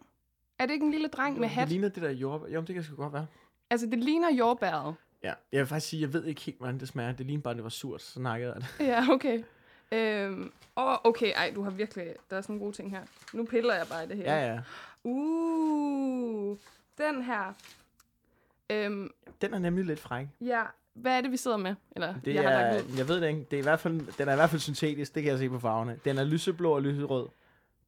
Speaker 4: Er det ikke en lille dreng med
Speaker 5: Det
Speaker 4: hat?
Speaker 5: ligner det der jordbær. Jo, men det kan sgu godt være.
Speaker 4: Altså, det ligner jordbæret.
Speaker 5: Ja. Jeg vil faktisk sige, jeg ved ikke helt, hvordan det smager. Det ligner bare, det var surt. Så snakkede jeg det.
Speaker 4: Ja, okay. Øhm, åh, okay, ej, du har virkelig, der er sådan nogle gode ting her. Nu piller jeg bare i det her.
Speaker 5: Ja, ja.
Speaker 4: Uh, den her. Øhm,
Speaker 5: Den er nemlig lidt fræk.
Speaker 4: ja, hvad er det, vi sidder med? Eller,
Speaker 5: Det
Speaker 4: jeg
Speaker 5: jeg
Speaker 4: har
Speaker 5: er,
Speaker 4: lagt ned.
Speaker 5: jeg ved det ikke. Det er i hvert fald, den er i hvert fald syntetisk, det kan jeg se på farverne. Den er lyseblå og lyserød.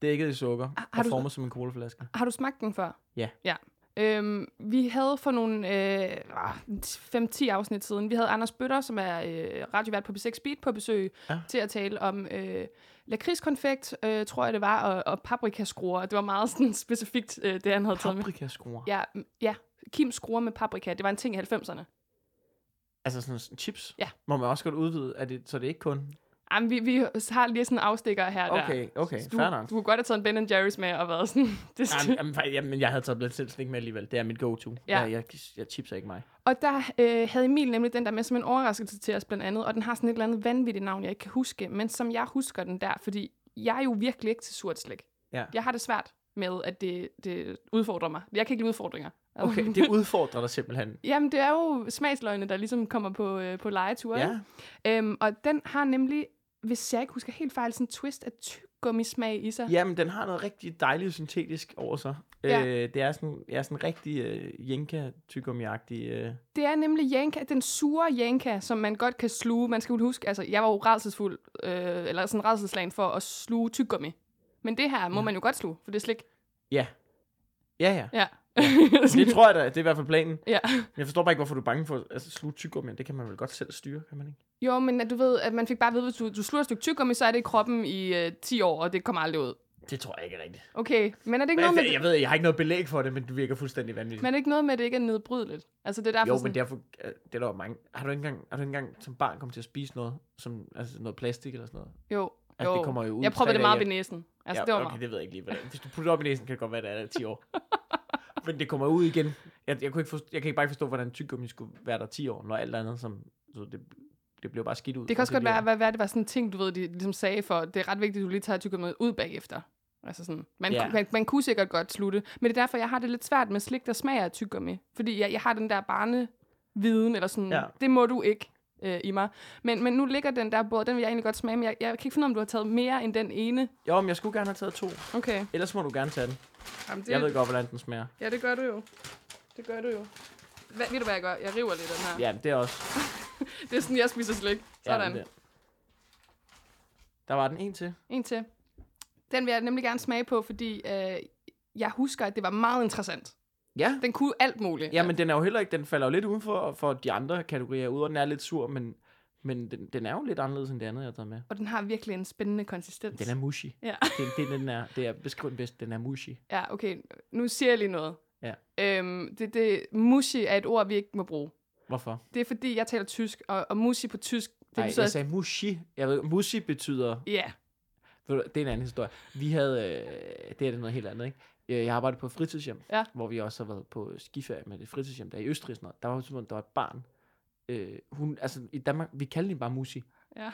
Speaker 5: Dækket i sukker
Speaker 4: Ah, Har-
Speaker 5: har,
Speaker 4: har
Speaker 5: og
Speaker 4: du-
Speaker 5: formet som en colaflaske.
Speaker 4: Har du smagt den før?
Speaker 5: Ja.
Speaker 4: ja. Øhm, vi havde for nogle øh, ah, 5-10 afsnit siden, vi havde Anders Bøtter, som er øh, radiovært på B6 Beat på besøg, ja.
Speaker 5: Ja.
Speaker 4: til at tale om øh, lakridskonfekt, øh, tror jeg det var, og, og paprikaskruer. Det var meget sådan specifikt, øh, det han havde taget med.
Speaker 5: Paprikaskruer. Ja.
Speaker 4: Ja, m- ja, Kim skruer med paprika. Det var en ting i 90'erne.
Speaker 5: Altså sådan nogle chips.
Speaker 4: Ja.
Speaker 5: Må man også godt udvide, at det, så det er ikke kun...
Speaker 4: Jamen, vi, vi har lige sådan en afstikker her og der.
Speaker 5: Okay, okay,
Speaker 4: Du,
Speaker 5: fair nok.
Speaker 4: du kunne godt have taget en Ben Jerry's med og været sådan... Det skal-
Speaker 5: Jamen, jamen, fa- jamen, jeg havde taget blandt selv slik med alligevel. Det er mit go-to.
Speaker 4: Ja.
Speaker 5: Ja. Jeg, jeg, jeg chipser ikke mig.
Speaker 4: Og der øh, havde Emil nemlig den der med som en overraskelse til os blandt andet, og den har sådan et eller andet vanvittigt navn, jeg ikke kan huske, men som jeg husker den der, fordi jeg er jo virkelig ikke til surt slik.
Speaker 5: Ja.
Speaker 4: Jeg har det svært med, at det, det udfordrer mig. Jeg kan ikke lide udfordringer. Altså,
Speaker 5: Okay, det udfordrer dig simpelthen.
Speaker 4: Jamen, det er jo smagsløgne, der ligesom kommer på, øh, på legeture.
Speaker 5: Ja.
Speaker 4: Øhm, og den har nemlig, hvis jeg ikke husker helt fejl, sådan en twist af tyggegummismag i sig.
Speaker 5: Jamen, den har noget rigtig dejligt syntetisk over sig.
Speaker 4: Ja.
Speaker 5: Ja. Øh, det er sådan, jeg er sådan rigtig øh, jenka tyggegummiagtig øh.
Speaker 4: Det er nemlig Janka, den sure Janka, som man godt kan sluge. Man skal jo huske, altså jeg var jo rædselsfuld, øh, eller sådan rædselslagen for at sluge tyggegummi. Men det her må man jo godt sluge, for det er slik.
Speaker 5: Ja. Ja, ja.
Speaker 4: Ja.
Speaker 5: Det tror jeg da, det er i hvert fald planen.
Speaker 4: ja.
Speaker 5: Jeg forstår bare ikke, hvorfor du er bange for altså, sluge tyggegummi. Det kan man vel godt selv styre, kan man ikke?
Speaker 4: Jo, men at du ved, at man fik bare at vide, hvis du, du sluger et stykke tyggegummi, så er det i kroppen i øh, 10 år, og det kommer aldrig ud.
Speaker 5: Det tror jeg ikke er rigtigt.
Speaker 4: Okay, men er det ikke,
Speaker 5: Jeg,
Speaker 4: noget med,
Speaker 5: jeg,
Speaker 4: det,
Speaker 5: jeg ved, jeg har ikke noget belæg for det, men det virker fuldstændig vanvittigt.
Speaker 4: men er det ikke noget med, at det ikke er nedbrydeligt? Altså det er derfor
Speaker 5: jo,
Speaker 4: sådan,
Speaker 5: men derfor, øh, det er der jo mange. Har du ikke engang, har du ikke engang som barn kommet til at spise noget, som, altså noget plastik eller sådan noget?
Speaker 4: jo,
Speaker 5: Altså,
Speaker 4: jo.
Speaker 5: det kommer jo ud
Speaker 4: jeg
Speaker 5: tre
Speaker 4: prøvede det
Speaker 5: dage
Speaker 4: meget op i
Speaker 5: efter.
Speaker 4: næsen. Altså ja, det var
Speaker 5: okay,
Speaker 4: meget.
Speaker 5: det ved jeg ikke lige, hvad det er. Hvis du putter det op i næsen, kan det godt være, at det er der i 10 år. men det kommer ud igen. Jeg, jeg, kunne ikke forstå, jeg kan ikke bare ikke forstå, hvordan tyggegummi skulle være der 10 år, når alt andet, som, så det, det blev bare skidt ud.
Speaker 4: Det kan
Speaker 5: og
Speaker 4: også godt
Speaker 5: bliver-
Speaker 4: være, hvad, hvad det var sådan en ting, du ved, de ligesom sagde for, det er ret vigtigt, at du lige tager tyggegummiet ud bagefter. Altså sådan, man,
Speaker 5: Ja.
Speaker 4: yeah. man, man kunne sikkert godt slutte. Men det er derfor, jeg har det lidt svært med slik, der smager af tyggegummi. Fordi jeg, jeg har den der barneviden, eller sådan,
Speaker 5: Ja.
Speaker 4: det må du ikke øh, i mig. Men, men nu ligger den der både, den vil jeg egentlig godt smage, men jeg, jeg kan ikke finde ud af, om du har taget mere end den ene.
Speaker 5: Jo, men jeg skulle gerne have taget to.
Speaker 4: Okay.
Speaker 5: Ellers må du gerne tage den.
Speaker 4: Jamen, det,
Speaker 5: Jeg ved godt, hvordan den smager.
Speaker 4: Ja, det gør du jo. Det gør du jo. Hvad, ved du, hvad jeg gør? Jeg river lidt af den her.
Speaker 5: Ja, men det er også...
Speaker 4: Det er sådan, jeg spiser slik.
Speaker 5: Ja, men
Speaker 4: Sådan.
Speaker 5: det- Der var den en til.
Speaker 4: En til. Den vil jeg nemlig gerne smage på, fordi øh, jeg husker, at det var meget interessant.
Speaker 5: Ja.
Speaker 4: Den kunne alt muligt.
Speaker 5: Ja, men den er jo heller ikke, den falder jo lidt uden for, for de andre kategorier, udover at den er lidt sur, men, men den, den er jo lidt anderledes end det andet, jeg har taget med.
Speaker 4: Og den har virkelig en spændende konsistens.
Speaker 5: Den er mushy.
Speaker 4: Ja.
Speaker 5: Det, det, er den er, det er beskriv den bedst, den er mushy.
Speaker 4: ja, okay. Nu siger jeg lige noget.
Speaker 5: Ja.
Speaker 4: Øhm, det, det, mushi er et ord, vi ikke må bruge.
Speaker 5: Hvorfor?
Speaker 4: Det er fordi, jeg taler tysk, og, og mushi på tysk, det
Speaker 5: Det Ej,
Speaker 4: betyder...
Speaker 5: jeg sagde mushy. Jeg ved, mushy betyder,
Speaker 4: Ja,
Speaker 5: ved du, det er en anden historie. Vi havde, øh, det er noget helt andet, ikke? Øh, Jeg arbejdede på et fritidshjem,
Speaker 4: Ja.
Speaker 5: hvor vi også har været på skiferie med det fritidshjem, der er i Østrig og sådan noget. Der var jo simpelthen, der var et barn. Øh, hun, altså i Danmark, vi kaldte hende bare Musi.
Speaker 4: ja.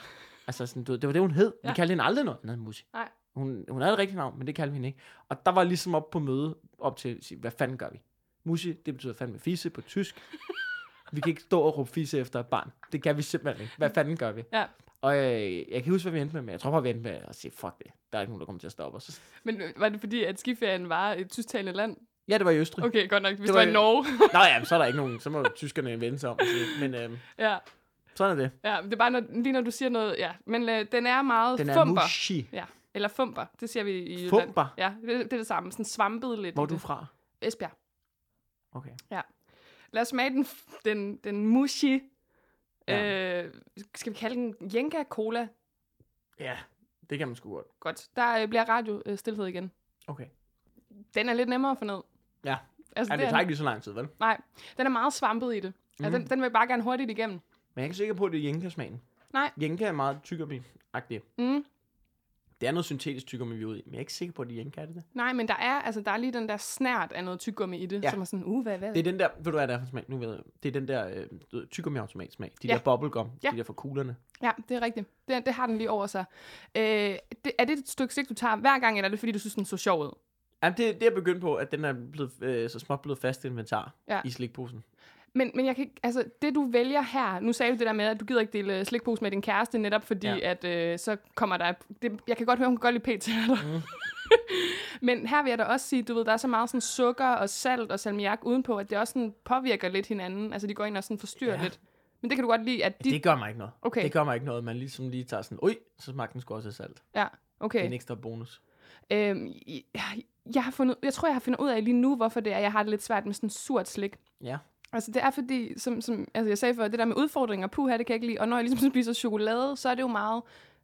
Speaker 5: Altså, sådan, du ved, det var det, hun hed. Ja.
Speaker 4: Ja.
Speaker 5: Vi kaldte hende aldrig noget andet end Musi.
Speaker 4: Nej.
Speaker 5: Hun, hun havde et rigtigt navn, men det kaldte vi hende ikke. Og der var ligesom op på møde, op til, at sige, hvad fanden gør vi? Musi, det betyder fandme fisse på tysk. vi kan ikke stå og råbe fisse efter et barn. Det kan vi simpelthen ikke. Hvad fanden gør vi?
Speaker 4: Ja.
Speaker 5: Og øh, jeg kan huske, hvad vi endte med, men jeg tror bare, vi endte med at sige, fuck det. Der er ikke nogen, der kommer til at stoppe os.
Speaker 4: Men øh, var det fordi, at skiferien var et tysktalende land?
Speaker 5: Ja, det var i Østrig.
Speaker 4: Okay, godt nok. Hvis det
Speaker 5: Det
Speaker 4: var,
Speaker 5: var
Speaker 4: i
Speaker 5: jo-
Speaker 4: Norge.
Speaker 5: Nå ja, men så er der ikke nogen. Så må tyskerne vende sig om. og sige, Men øh,
Speaker 4: ja,
Speaker 5: sådan er det.
Speaker 4: ja, det er bare når, lige når du siger noget... Ja, men øh, den er meget
Speaker 5: Den er
Speaker 4: fumper.
Speaker 5: Musi.
Speaker 4: Ja, eller fumper. Det siger vi i Jylland.
Speaker 5: Fumper?
Speaker 4: Ja, det, det er det samme. Sådan svampet lidt. i
Speaker 5: Hvor er du
Speaker 4: det.
Speaker 5: fra?
Speaker 4: Esbjerg.
Speaker 5: Okay.
Speaker 4: Lad os smage den, den, den mushi.
Speaker 5: Ja.
Speaker 4: Øh, skal vi kalde den Jenga Cola?
Speaker 5: Ja, det kan man sgu godt.
Speaker 4: Godt. Der øh, bliver radio øh, stillhed igen.
Speaker 5: Okay.
Speaker 4: Den er lidt nemmere for ned.
Speaker 5: Ja.
Speaker 4: Altså,
Speaker 5: Ej,
Speaker 4: det
Speaker 5: det
Speaker 4: er
Speaker 5: tager
Speaker 4: den.
Speaker 5: ikke Mhm. lige så lang tid, vel?
Speaker 4: Nej, den er meget svampet i det. Mm. Altså, den, den vil jeg bare gerne hurtigt igennem.
Speaker 5: Men jeg er ikke sikker på, at det er jænkasmagen.
Speaker 4: Nej.
Speaker 5: Jenka er meget tyggegummi-agtig.
Speaker 4: Mm.
Speaker 5: Det er noget syntetisk tyggegummi, vi er ude i, men jeg er ikke sikker på, at de ikke er det.
Speaker 4: Nej, men der er, altså, der er lige den der snært af noget tyggegummi i det,
Speaker 5: Ja.
Speaker 4: ja. som er sådan, uh, hvad, hvad?
Speaker 5: Det er den der, ved du hvad det er for en smag? Nu ved jeg, det er den der øh, du ved, tyggegummi-automat smag. De
Speaker 4: Ja.
Speaker 5: der bubblegum,
Speaker 4: Ja.
Speaker 5: de der fra kuglerne.
Speaker 4: Ja, det er rigtigt. Det, det har den lige over sig. Øh, det, er det et stykke sigt, du tager hver gang, eller er det fordi, du synes, den så sjov ud?
Speaker 5: Jamen, det, det er jeg begyndt på, at den er blevet, øh, så småt blevet fast inventar ja.
Speaker 4: Ja.
Speaker 5: i slikposen.
Speaker 4: Men, men jeg kan ikke, altså, det du vælger her, nu sagde du det der med, at du gider ikke dele øh, slikpose med din kæreste, netop fordi,
Speaker 5: Ja.
Speaker 4: ja. at øh, så kommer der, det, jeg kan godt høre, hun kan godt lide p-tæller. Mm. men her vil jeg da også sige, du ved, der er så meget sådan sukker og salt og salmiak udenpå, at det også sådan påvirker lidt hinanden. Altså, de går ind og sådan forstyrrer
Speaker 5: Ja.
Speaker 4: ja. lidt. Men det kan du godt lide, at de...
Speaker 5: Det gør mig ikke noget.
Speaker 4: Okay.
Speaker 5: Det gør mig ikke noget, man ligesom lige tager sådan, ui, så smagte den sgu også af salt. Okay.
Speaker 4: Ja,
Speaker 5: Det er
Speaker 4: okay.
Speaker 5: en ekstra bonus.
Speaker 4: Øhm, jeg, jeg, har fundet, jeg tror, jeg har fundet ud af lige nu, hvorfor det er, jeg har det lidt svært med sådan surt slik.
Speaker 5: Ja.
Speaker 4: Altså, det er fordi, som, som altså, jeg sagde før, det der med udfordringer, puha, det kan jeg ikke lide. Og når jeg ligesom spiser chokolade, så er det jo meget,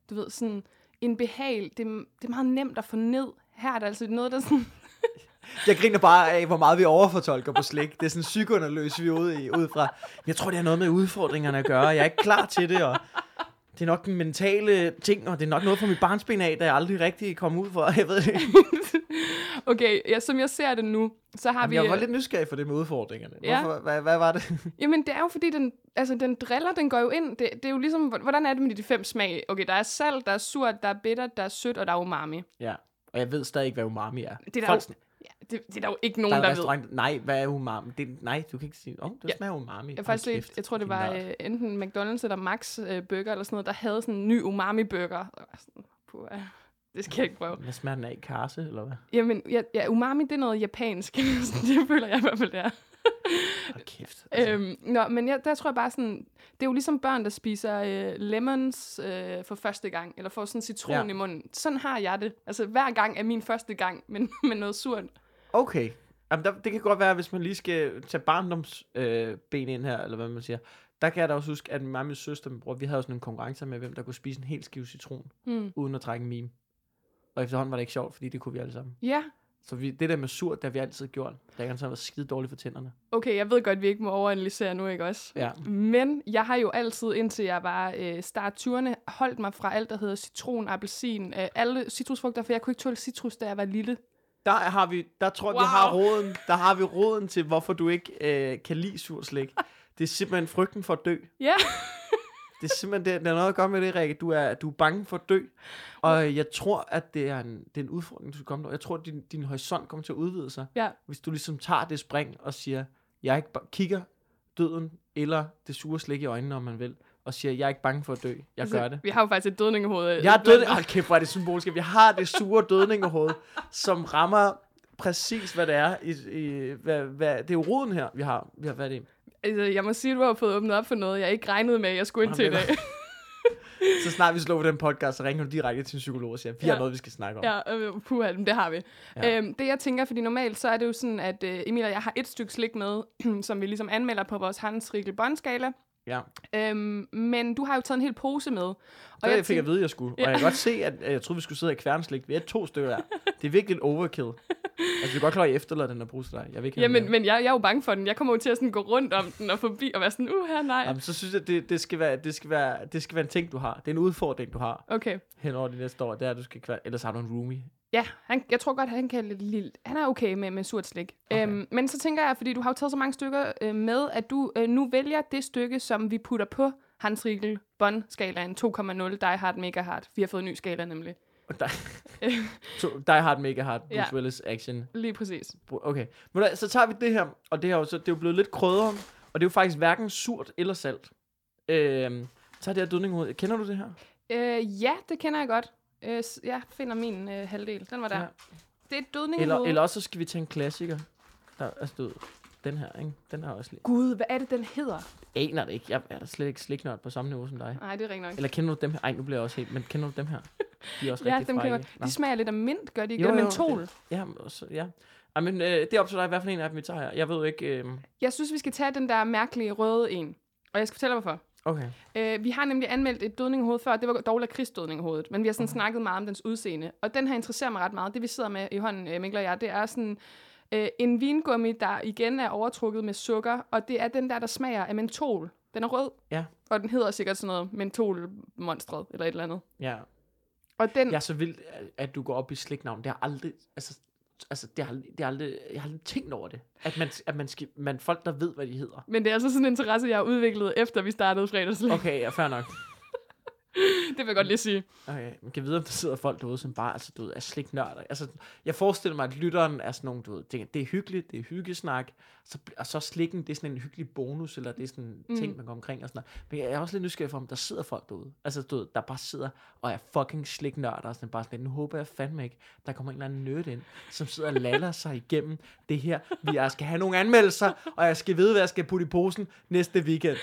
Speaker 4: du ved, sådan en behag. Det, det er meget nemt at få ned. Her er der altså noget, der sådan...
Speaker 5: Jeg griner bare af, hvor meget vi overfortolker på slik. Det er sådan psykounderløs, vi er ude i, ud fra. Jeg tror, det har noget med udfordringerne at gøre. Jeg er ikke klar til det, og det er nok den mentale ting, og det er nok noget fra mit barnsben af, der jeg aldrig rigtig kom ud for. Jeg ved det. ikke.
Speaker 4: Okay, ja, som jeg ser det nu, så har
Speaker 5: Jamen,
Speaker 4: vi... øh,
Speaker 5: jeg var lidt nysgerrig for det med udfordringerne.
Speaker 4: Ja.
Speaker 5: Hvorfor, hvad, hvad var det?
Speaker 4: Jamen, det er jo fordi, den, altså, den driller, den går jo ind. Det, det er jo ligesom, hvordan er det med de fem smag? Okay, der er salt, der er surt, der er bittert, der er sødt, og der er umami.
Speaker 5: Ja, og jeg ved stadig ikke, hvad umami er.
Speaker 4: Det er der,
Speaker 5: Folk
Speaker 4: jo,
Speaker 5: sådan,
Speaker 4: ja, det, det er der jo ikke
Speaker 5: der
Speaker 4: nogen,
Speaker 5: er
Speaker 4: der, ved.
Speaker 5: en restaurant, nej, hvad er umami? Det, nej, du kan ikke sige, åh, oh, det
Speaker 4: Ja.
Speaker 5: smager umami.
Speaker 4: Jeg, har
Speaker 5: Hold
Speaker 4: faktisk set,
Speaker 5: kæft,
Speaker 4: jeg tror, det
Speaker 5: din
Speaker 4: var
Speaker 5: nørd.
Speaker 4: øh, enten McDonald's eller Max øh, Burger eller sådan noget, der havde sådan en ny umami-burger. Og jeg var sådan, puha, Det skal jeg ikke prøve.
Speaker 5: Hvad smager den af? Karse, eller hvad?
Speaker 4: Jamen, ja, ja, umami, det er noget japansk. Sådan, det føler jeg i hvert fald, det er.
Speaker 5: Hold kæft. Altså,
Speaker 4: Øhm, nå, men jeg, der tror jeg bare sådan, det er jo ligesom børn, der spiser øh, lemons øh, for første gang, eller får sådan citron
Speaker 5: Ja.
Speaker 4: ja. i munden. Sådan har jeg det. Altså, hver gang er min første gang, men med noget surt.
Speaker 5: Okay. Jamen, der, det kan godt være, hvis man lige skal tage barndomsben øh, ben ind her, eller hvad man siger. Der kan jeg da også huske, at mig og min søster, min bror, vi havde sådan nogle konkurrencer med, hvem der kunne spise en hel skive citron,
Speaker 4: Mm.
Speaker 5: uden at trække en meme. Og efterhånden var det ikke sjovt, fordi det kunne vi alle sammen.
Speaker 4: Ja,
Speaker 5: Så vi, det der med surt, det har vi altid gjort. Det har altid været skide dårligt for tænderne.
Speaker 4: okay, jeg ved godt, vi ikke må overanalysere nu, ikke også?
Speaker 5: Ja.
Speaker 4: Men jeg har jo altid, indtil jeg var øh, start 20'erne, holdt mig fra alt, der hedder citron, appelsin, øh, alle citrusfrugter, for jeg kunne ikke tåle citrus, da jeg var lille.
Speaker 5: Der har vi, der tror jeg, wow.
Speaker 4: Wow.
Speaker 5: vi har råden, der har vi råden til, hvorfor du ikke øh, kan lide sur slik. Det er simpelthen frygten for at dø.
Speaker 4: Ja,
Speaker 5: Det er simpelthen det, der er noget at gøre med det, Rikke. Du er, du er bange for at dø. Og jeg tror, at det er en, det er en udfordring, du skal komme der. Jeg tror, at din, din horisont kommer til at udvide sig.
Speaker 4: ja.
Speaker 5: Hvis du ligesom tager det spring og siger, jeg er ikke ba- kigger døden eller det sure slik i øjnene, om man vil, og siger, jeg er ikke bange for at dø. Jeg gør det.
Speaker 4: Altså, Vi har jo faktisk et dødningehoved. øh,
Speaker 5: Jeg er dødning. Hold kæft, hvor er det symbolsk. Vi har det sure dødningehoved, som rammer præcis, hvad det er. I, i, hvad, hvad, det er jo roden her, vi har. Vi har hvad er det?
Speaker 4: Altså, jeg må sige, at du har fået åbnet op for noget, jeg ikke regnede med, at jeg skulle ind til i
Speaker 5: Jamen,
Speaker 4: dag.
Speaker 5: det Så snart vi slår på den podcast, så ringer du direkte til en psykolog og siger, vi ja. har
Speaker 4: Ja.
Speaker 5: noget, vi skal snakke om.
Speaker 4: Ja, øh, puha, men det har vi.
Speaker 5: Ja.
Speaker 4: Ja. Øhm, det jeg tænker, fordi normalt så er det jo sådan, at øh, Emil og jeg har et stykke slik med, som vi ligesom anmelder på vores Hans Rikkel Bondskala.
Speaker 5: ja.
Speaker 4: Øhm, men du har jo taget en hel pose med. Og
Speaker 5: Og jeg fik
Speaker 4: tænker-
Speaker 5: at vide, at jeg skulle. Og jeg kan godt se, at, at jeg troede, vi skulle sidde og kværnslik. Vi er to stykker der. Det er virkelig en overkill. Altså, vi er godt klar, at jeg efterlader den der bruse dig. Jeg vil ikke have
Speaker 4: Ja,
Speaker 5: den
Speaker 4: men,
Speaker 5: mere.
Speaker 4: men jeg, jeg er jo bange for den. Jeg kommer jo til at sådan gå rundt om den og forbi og være sådan, uh, her nej.
Speaker 5: Jamen, så synes jeg, det, det, skal være, det, skal være, det skal være en ting, du har. Det er en udfordring, du har
Speaker 4: Okay.
Speaker 5: hen over de næste år. Det er, at du skal kvær... Ellers har du en roomie.
Speaker 4: Ja, han, jeg tror godt, han kan lidt lille. Han er okay med, med surt slik.
Speaker 5: Okay.
Speaker 4: Okay. Øhm, men så tænker jeg, fordi du har jo taget så mange stykker øh, med, at du øh, nu vælger det stykke, som vi putter på Hans Riegel Bond-skalaen 2,0 Die Hard Mega Hard. Vi har fået en ny skala nemlig.
Speaker 5: Og dig, To- die hard, mega hard, Bruce
Speaker 4: Ja.
Speaker 5: Willis, action.
Speaker 4: Lige præcis.
Speaker 5: Bru- Okay. Men da, så tager vi det her, og det, her, så, det er jo blevet lidt krødder, og det er jo faktisk hverken surt eller salt. Øhm, så er det her dødninghoved. Kender du det her?
Speaker 4: Øh, ja, det kender jeg godt. Øh, s- jeg finder min øh, halvdel. Den var der.
Speaker 5: Ja.
Speaker 4: Ja. Det er et dødning
Speaker 5: Eller, eller også så skal vi tage en klassiker. Der er stået den her, ikke? Den er også lidt...
Speaker 4: Gud, hvad er det, den hedder?
Speaker 5: Aner det ikke. Jeg er da slet ikke sliknørt på samme niveau som dig.
Speaker 4: Nej, det er rigtig nok.
Speaker 5: Eller kender du dem her? Ej, nu bliver jeg også helt... Men kender du dem her? De er også
Speaker 4: Ja,
Speaker 5: rigtig
Speaker 4: dem kan
Speaker 5: frække.
Speaker 4: jeg godt.
Speaker 5: Nå.
Speaker 4: De smager lidt af mint, gør de ikke?
Speaker 5: Jo,
Speaker 4: Jo,
Speaker 5: jo,
Speaker 4: mentol.
Speaker 5: det- Ja, men også, ja. Ej, men øh, det er op til dig, hvad for en af dem vi tager her. Jeg ved jo ikke... Øh...
Speaker 4: Jeg synes, vi skal tage den der mærkelige røde en. Og jeg skal fortælle dig, hvorfor.
Speaker 5: Okay.
Speaker 4: Øh, vi har nemlig anmeldt et dødninghoved før, det var dog lakridsdødninghovedet, men vi har sådan snakket meget om dens udseende. Og den her interesserer mig ret meget. Det vi sidder med i hånden, øh, Mikkel og jeg, det er sådan øh, en vingummi, der igen er overtrukket med sukker, og det er den der, der smager af mentol. Den er rød,
Speaker 5: Ja.
Speaker 4: og den hedder sikkert sådan noget mentolmonstret eller et eller andet.
Speaker 5: Ja.
Speaker 4: Og den,
Speaker 5: Jeg er så vild, at- at du går op i slægtnavn. Det har aldrig... Altså, altså det har, det har aldrig, jeg har aldrig tænkt over det. At man, at man, skal, man folk, der ved, hvad de hedder.
Speaker 4: Men det er altså sådan en interesse, jeg har udviklet, efter vi startede fredagslæg. Okay.
Speaker 5: Okay, ja, fair nok.
Speaker 4: Det vil jeg godt lige sige.
Speaker 5: Okay, man kan vide, om der sidder folk derude, som bare altså, du ved, er sliknørder. Altså, jeg forestiller mig, at lytteren er sådan nogle, du ved, det, det er hyggeligt, det er hyggesnak, så, bl- og så slikken, det er sådan en hyggelig bonus, eller det er sådan en
Speaker 4: Mm.
Speaker 5: ting, man går omkring og sådan noget. Men jeg er også lidt nysgerrig for, om der sidder folk derude. Altså, du ved, der bare sidder og er fucking sliknørder, og sådan bare sådan, lidt, nu håber jeg fandme ikke, der kommer en eller anden nørd ind, som sidder og laller sig igennem det her. Vi- Jeg skal have nogle anmeldelser, og jeg skal vide, hvad jeg skal putte i posen næste weekend.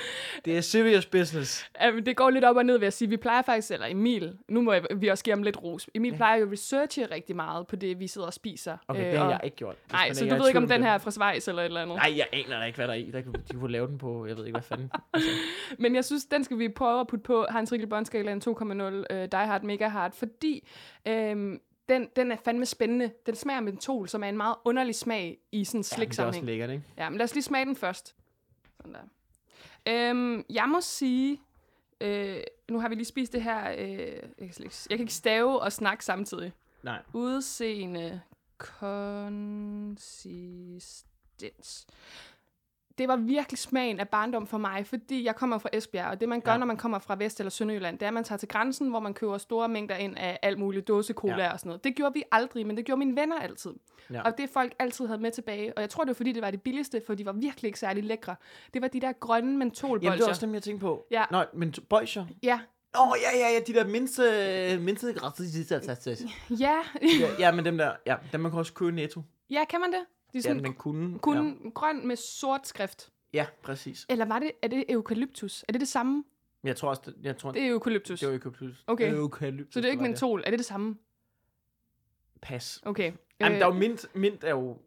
Speaker 5: Det er serious business.
Speaker 4: Jamen, det går lidt op og ned ved at sige, vi plejer faktisk, eller Emil, nu må jeg, vi også give ham lidt ros. Emil ja. plejer jo at researche rigtig meget på det, vi sidder og spiser. Øh,
Speaker 5: Okay, det har
Speaker 4: og-
Speaker 5: jeg ikke gjort. Hvis
Speaker 4: Nej,
Speaker 5: man
Speaker 4: så
Speaker 5: ikke
Speaker 4: du
Speaker 5: er i
Speaker 4: ved ikke,
Speaker 5: tvivl
Speaker 4: om den
Speaker 5: det.
Speaker 4: her er fra Schweiz eller et eller andet.
Speaker 5: Nej, jeg aner da ikke, hvad der er i. Der kan, de kunne lave den på, jeg ved ikke, hvad fanden. Altså,
Speaker 4: Men jeg synes, den skal vi prøve at putte på Hans Rikkel Båndskala en 2,0 øh, Die Hard Mega Hard, fordi øhm, den, den er fandme spændende. Den smager af mentol, som er en meget underlig smag i sådan en
Speaker 5: ja,
Speaker 4: slik
Speaker 5: men det er også
Speaker 4: sammenhæng.
Speaker 5: lækkert, ikke?
Speaker 4: Ja, men lad os lige smage den først. Sådan der. Øhm, jeg må sige, øh, nu har vi lige spist det her, øh, jeg, kan slet ikke, jeg kan ikke stave og snakke samtidig.
Speaker 5: Nej.
Speaker 4: Udseende, konsistens. Det var virkelig smagen af barndom for mig, fordi jeg kommer fra Esbjerg, og det man gør,
Speaker 5: Ja.
Speaker 4: ja. når man kommer fra Vest- eller Sønderjylland, det er, at man tager til grænsen, hvor man køber store mængder ind af alt muligt, dåsekola
Speaker 5: Ja.
Speaker 4: ja. og sådan noget. Det gjorde vi aldrig, men det gjorde mine venner altid.
Speaker 5: Ja.
Speaker 4: Og det folk altid havde med tilbage. Og jeg tror, det var fordi, det var det billigste, for de var virkelig ikke særlig lækre. Det var de der grønne mentolbolger.
Speaker 5: Jamen, det var også dem, jeg tænkte på.
Speaker 4: Ja.
Speaker 5: Nej, men t- bøjser.
Speaker 4: Ja,
Speaker 5: Åh, oh, ja, ja, ja, de der mindste, mindste græsser.
Speaker 4: ja.
Speaker 5: Ja, ja, men dem der, ja, dem man kan også købe i netto.
Speaker 4: ja, kan man det? De er
Speaker 5: Ja,
Speaker 4: sådan
Speaker 5: man kunne. Ja,
Speaker 4: kun ja. grøn med sort skrift.
Speaker 5: ja præcis.
Speaker 4: Eller var det, er det eukalyptus? Er det det samme?
Speaker 5: Men jeg tror også, det, jeg tror,
Speaker 4: Det er eukalyptus.
Speaker 5: det var eukalyptus.
Speaker 4: Okay.
Speaker 5: Eukalyptus,
Speaker 4: så det er
Speaker 5: var
Speaker 4: ikke mentol. Er det det samme?
Speaker 5: Pas.
Speaker 4: Okay.
Speaker 5: Jamen,
Speaker 4: Øh,
Speaker 5: der er jo mint, mint er jo...